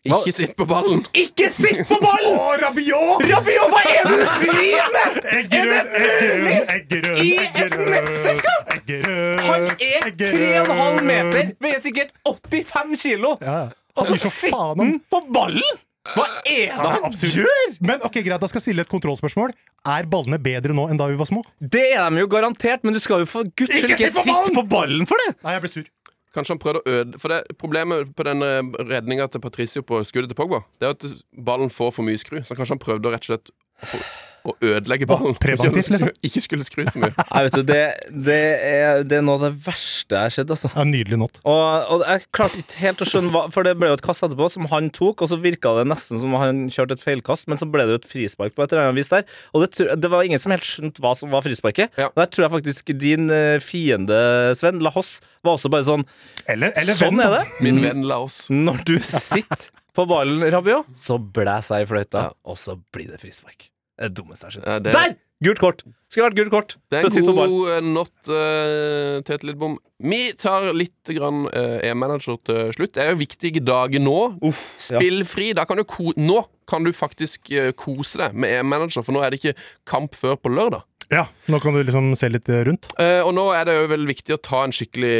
Ikke sitt på ballen!
Ikke sitt på ballen!
Å, Rabiot!
Rabiot, hva er det du driver med?!
Eggerød, Eggerød, Eggerød,
I et
Eggerød,
mesterskap?
Eggerød,
Han er
Eggerød.
3,5 meter, veier sikkert 85 kilo.
Ja, ja.
Og
Fy,
så
for
sitter
faen, han-
han på ballen! Hva er det han gjør?!
Men ok, greit, da skal jeg stille et kontrollspørsmål. Er ballene bedre nå enn da vi var små?
Det er de jo garantert, men du skal jo for guds skyld
Ikke
ikke
sitt på
sitte
ballen!
på ballen for det!
Nei, jeg ble sur.
Kanskje han prøvde å øde For det Problemet på den redninga til Patricio på skuddet til Pogba, det er at ballen får for mye skru. Så kanskje han prøvde å rett og slett å få- å ødelegge ballen.
preventivt, liksom.
Ikke skulle skru så mye.
Nei, vet du, det, det, er, det er noe av det verste jeg har sett, altså.
Ja, nydelig not.
Og, og jeg klarte ikke helt å skjønne hva For det ble jo et kast etterpå som han tok, og så virka det nesten som han kjørte et feilkast, men så ble det jo et frispark på et eller annet vis der. Og det, tr- det var ingen som helt skjønte hva som var frisparket.
Ja.
Der tror jeg faktisk din eh, fiende, Sven, La Hoss, var også bare sånn
Eller, eller
Sånn
venn,
er
da.
det.
Min venn la oss.
Når du sitter på ballen, Rabiot, så blæser jeg i fløyta, og så blir det frispark. Det er det dummeste jeg har sett.
Ja, Eh, det-
Der! Gult kort! Skulle vært gult kort.
Det
for å
er
sitte
en
på ballen.
god eh, not, uh, Tete Lidbom. Vi tar litt grann eh, E-manager til slutt. Det er jo viktige dager nå.
ja.
Spillfri. Da kan du ko nå kan du faktisk eh, kose deg med E-manager, for nå er det ikke kamp før på lørdag.
Ja, nå kan du liksom se litt rundt.
Eh, og nå er det jo vel viktig å ta en skikkelig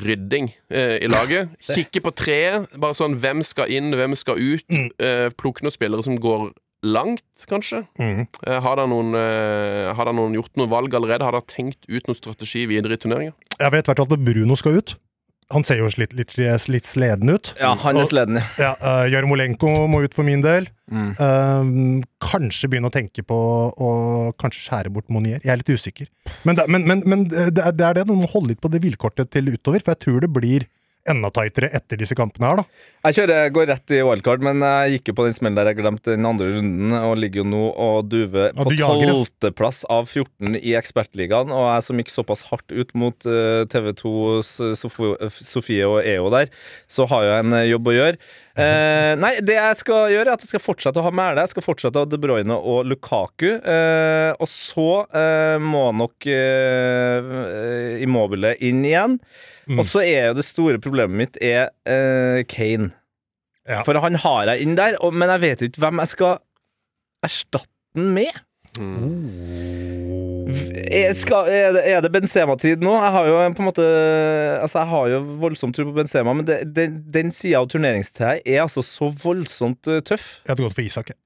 rydding eh, i laget. Kikke på treet. Bare sånn hvem skal inn, hvem skal ut. Eh, plukke noen spillere som går langt, kanskje.
Mhm.
Eh, har, dere noen, eh, har dere noen gjort noen valg allerede? Har dere tenkt ut noen strategi videre i turneringa?
Jeg vet hvert fall at Bruno skal ut. Han ser jo litt, litt, litt sleden ut.
Ja, han er sleden, ja.
Ja, eh, Jarmolenko må ut for min del.
Mm.
Eh, kanskje begynne å tenke på å kanskje skjære bort Monier. Jeg er litt usikker. Men, det, men, men, men eh, det, er, det er det, du må holde litt på det vilkortet til utover, for jeg tror det blir enda tightere etter disse kampene her, da.
Jeg kjører, går rett i wildcard, men jeg gikk jo på den smellen der jeg glemte den andre runden, og ligger jo nå og duver
Ja,
på
du jager, ja.
tolvteplass av 14 i Ekspertligaen. Og jeg som gikk såpass hardt ut mot eh, TV 2s Sofie og EO der, så har jeg en eh, jobb å gjøre. Eh, nei, det jeg skal gjøre, er at jeg skal fortsette å ha Mæle. Jeg skal fortsette å ha De Bruyne og Lukaku. Eh, og så eh, må nok eh, Immobile inn igjen.
Mm.
Og så er jo det store problemet mitt er eh, Kane.
Ja.
For han har jeg inn der, og, men jeg vet jo ikke hvem jeg skal erstatte den med.
Mm.
Er, skal, er, det, er det Benzema-tid nå? Jeg har jo på en måte Altså jeg har jo voldsomt tro på Benzema, men det, den, den sida av turneringstida er altså så voldsomt eh, tøff.
Jeg hadde gått for Isak. jeg.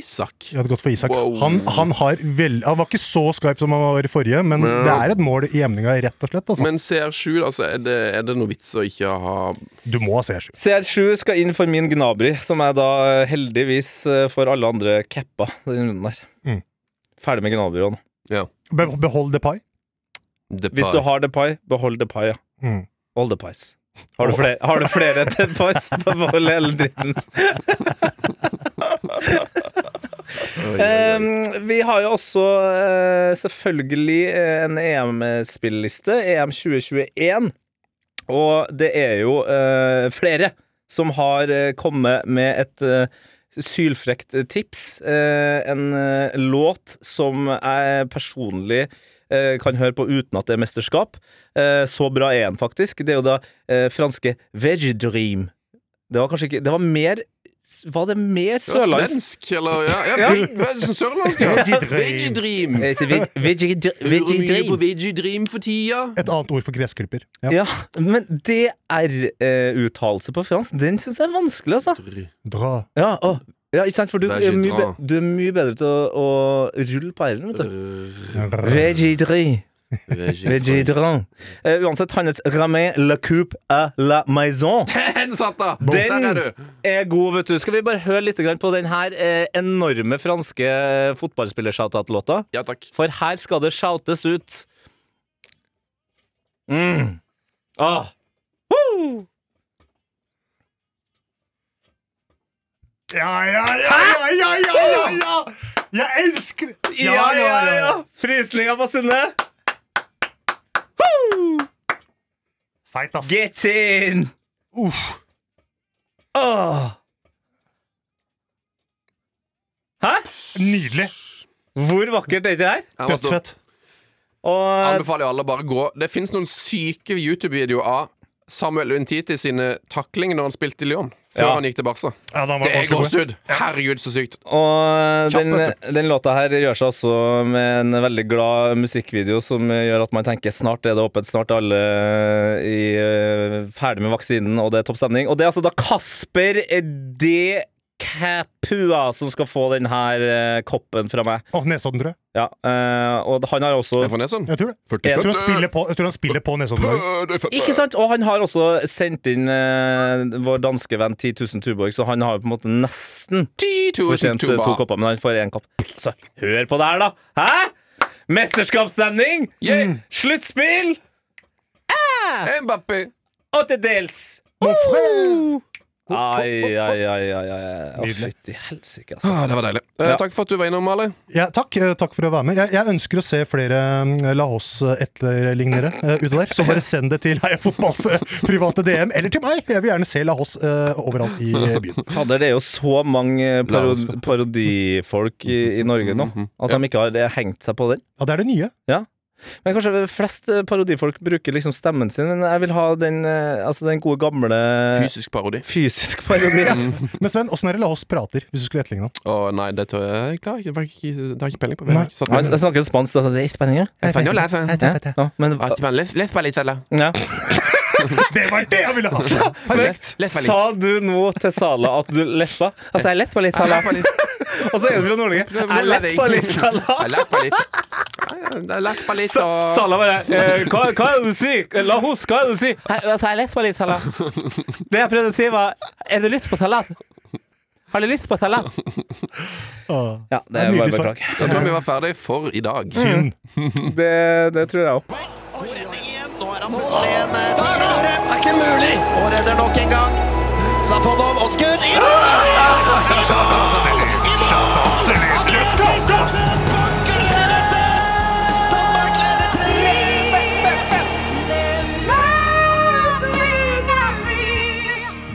Isak.
Jeg hadde gått for Isak.
Wow.
Han, han, har vel, han var ikke så skarp som han var i forrige, men
Men-
det er et mål i jevninga, rett og slett. Altså.
Men CR7, altså, er det, er det noe vits å ikke ha
Du må ha CR7.
CR7 skal inn for min Gnabry, som jeg da eh, heldigvis eh, for alle andre cappa den runden der.
Mm.
Ferdig med Gnabry òg nå.
Be behold Depay.
Depay?
Hvis du har Depay, behold Depay, ja.
Mm.
All the pies. Har du flere, har du flere til pies på behold hele dritten? Eh, Em, Ehm, vi har jo også eh, selvfølgelig eh, en EM-spilleliste, EM 2021. Og det er jo eh, flere som har eh, kommet med et eh, sylfrekt tips. Eh, en eh, låt som jeg personlig eh, kan høre på uten at det er mesterskap. Eh, så bra er den faktisk. Det er jo da eh, franske Veg Dream. Det var kanskje ikke Det var mer Var det mer
Det var
sørlandsk?
Svensk, eller Ja, ja vi- hva er det som sørlandsk, ja.
Veggie
Vegidream.
Eh, så Veg- Veg- Veg-
Lurer mye
Dream.
på Vegidream for tida.
Et annet ord for gressklipper. Ja.
Ja, men DR-uttalelse på fransk, den syns jeg er vanskelig, altså.
Dra.
Ja, å, ja ikke sant? For du
Det
er,
er ikke
mye,
dra.
be- du er mye bedre til å, å rulle på r-en, vet du.
Dra.
Vegidri. Vegidran. Eh, uansett, hans Ramé la coupe à la maison
Den satt, da!
Den-
Der er du.
er god, vet du. Skal vi bare høre litt grann på den her eh, enorme franske eh, fotballspiller-shoutout-låta?
Ja takk.
For her skal det shoutes ut. Mm. Ah. Woo!
Ja, ja, ja, ja, ja, ja, ja, ja! Jeg elsker det! Ja, ja, ja.
Frysninga på Sunne.
Feit, ass.
Get in! Ah.
Uff.
Åh. Hæ?
Nydelig.
Hvor vakkert er ikke det her?
Her
altså.
var stå-
Dødsfett.
Og
Anbefaler jo alle å bare gå. Det fins noen syke YouTube-videoer av Samuel Untiti sine taklinger når han spilte i Lyon. Før
Ja.
han gikk til Barca.
Ja, den var
Det er
ordentlig god.
gåsehud! Herregud, så sykt.
Og
Kjapp,
den,
vet
den låta her gjør seg også med en veldig glad musikkvideo som gjør at man tenker snart er det åpent, snart er alle i, eh, ferdig med vaksinen, og det er topp stemning. Og det er altså da Kasper D. Kapua som skal få den her eh, koppen fra meg.
Å, Nesodden, tror jeg.
Ja, eh, og han har også
Jeg får ned sånn.
Jeg tror det. Jeg tror han spiller på, jeg tror han spiller på Nesodden. i dag.
Ikke sant? Og han har også sendt inn eh, vår danske venn 10 000 Tuborg, så han har jo på en måte nesten fortjent eh, to kopper, men han får én kopp. Så hør på det her, da! Hæ? Mesterskapsstemning! Mm.
Yeah.
Sluttspill!
Mbappé.
Åttedels!
Mon frère!
Ai, ai, ai, ai. ai. Å,
Nydelig.
fytti helsike, altså.
Ah, det var deilig. Eh,
Ja.
Takk for at du var innom, Ali.
Ja, takk, eh, takk for å være med. Jeg, jeg ønsker å se flere eh, La Oss-etterlignere eh, ute der. Så bare send det til Heia Fotballs eh, private DM, eller til meg! Jeg vil gjerne se La Oss eh, overalt i eh, byen.
Fader, det er jo så mange
La
paro
oss-
parodifolk i, i Norge nå
Mhm.
at de ikke har eh, hengt seg på den.
Ja, det er det nye.
Men kanskje flest eh, parodifolk bruker liksom stemmen sin, men jeg vil ha den, eh, altså den gode gamle
Fysisk parodi.
fysisk parodien.
Men Sven, åssen er det La Oss prater, hvis du skulle etterligne ham?
Å nei, det tør jeg ikke. Det har jeg ikke- det har jeg ikke peiling på.
Nei.
Han jeg snakker spansk, da, så det er spenning, ja.
Español, eh.
Ja, ja, men, ja.
Det var det jeg ville ha! Perfekt.
Sa du nå til Sala at du lesba? Altså, jeg lesba litt, Sala. Og så er du fra Nord-Norge. Jeg lesba litt, Sala. Sa- Sala bare eh, hva, hva er det du sier? La hos, hva er det du sier? Nei, Altså, jeg lesba litt, Sala. Det jeg prøvde å si, var Er du lyst på salat? Har du lyst på salat?
Åh.
Ja,
Det
det er
er
bare
nydelig sagt.
beklager.
Da tror jeg vi var ferdig for i dag.
Mm.
Synd.
Det, det tror jeg òg.
Går inn igjen. Nå er han plutselig en eh, tiger av gårde. Er ikke mulig! Og redder nok en gang. Safonov og skudd i mål! Andreas Christensen banker ned dette! Danmark leder tre!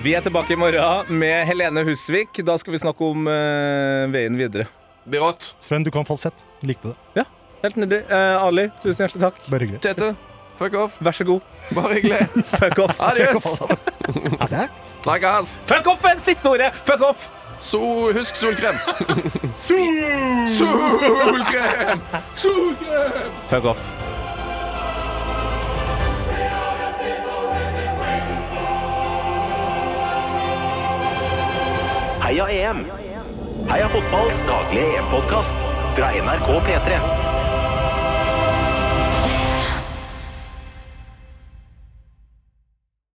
Vi er tilbake i morgen med Helene Husvik. Da skal vi snakke om eh, veien videre.
Birått.
Sven, du kan falsett. Likte det.
Ja, helt nydelig. Eh, Ali, tusen hjertelig takk.
Bare hyggelig.
Tete. Fuck off.
Vær så god.
Bare hyggelig.
Fuck off.
Adios.
Ha det.
Snakkes.
Fuck off er det siste ordet! Fuck off!
Sol, husk solkrem. Solkrem! Solkrem!
Fuck off.
E Heia EM! Heia fotballs daglige EM-podkast fra E NRK P3.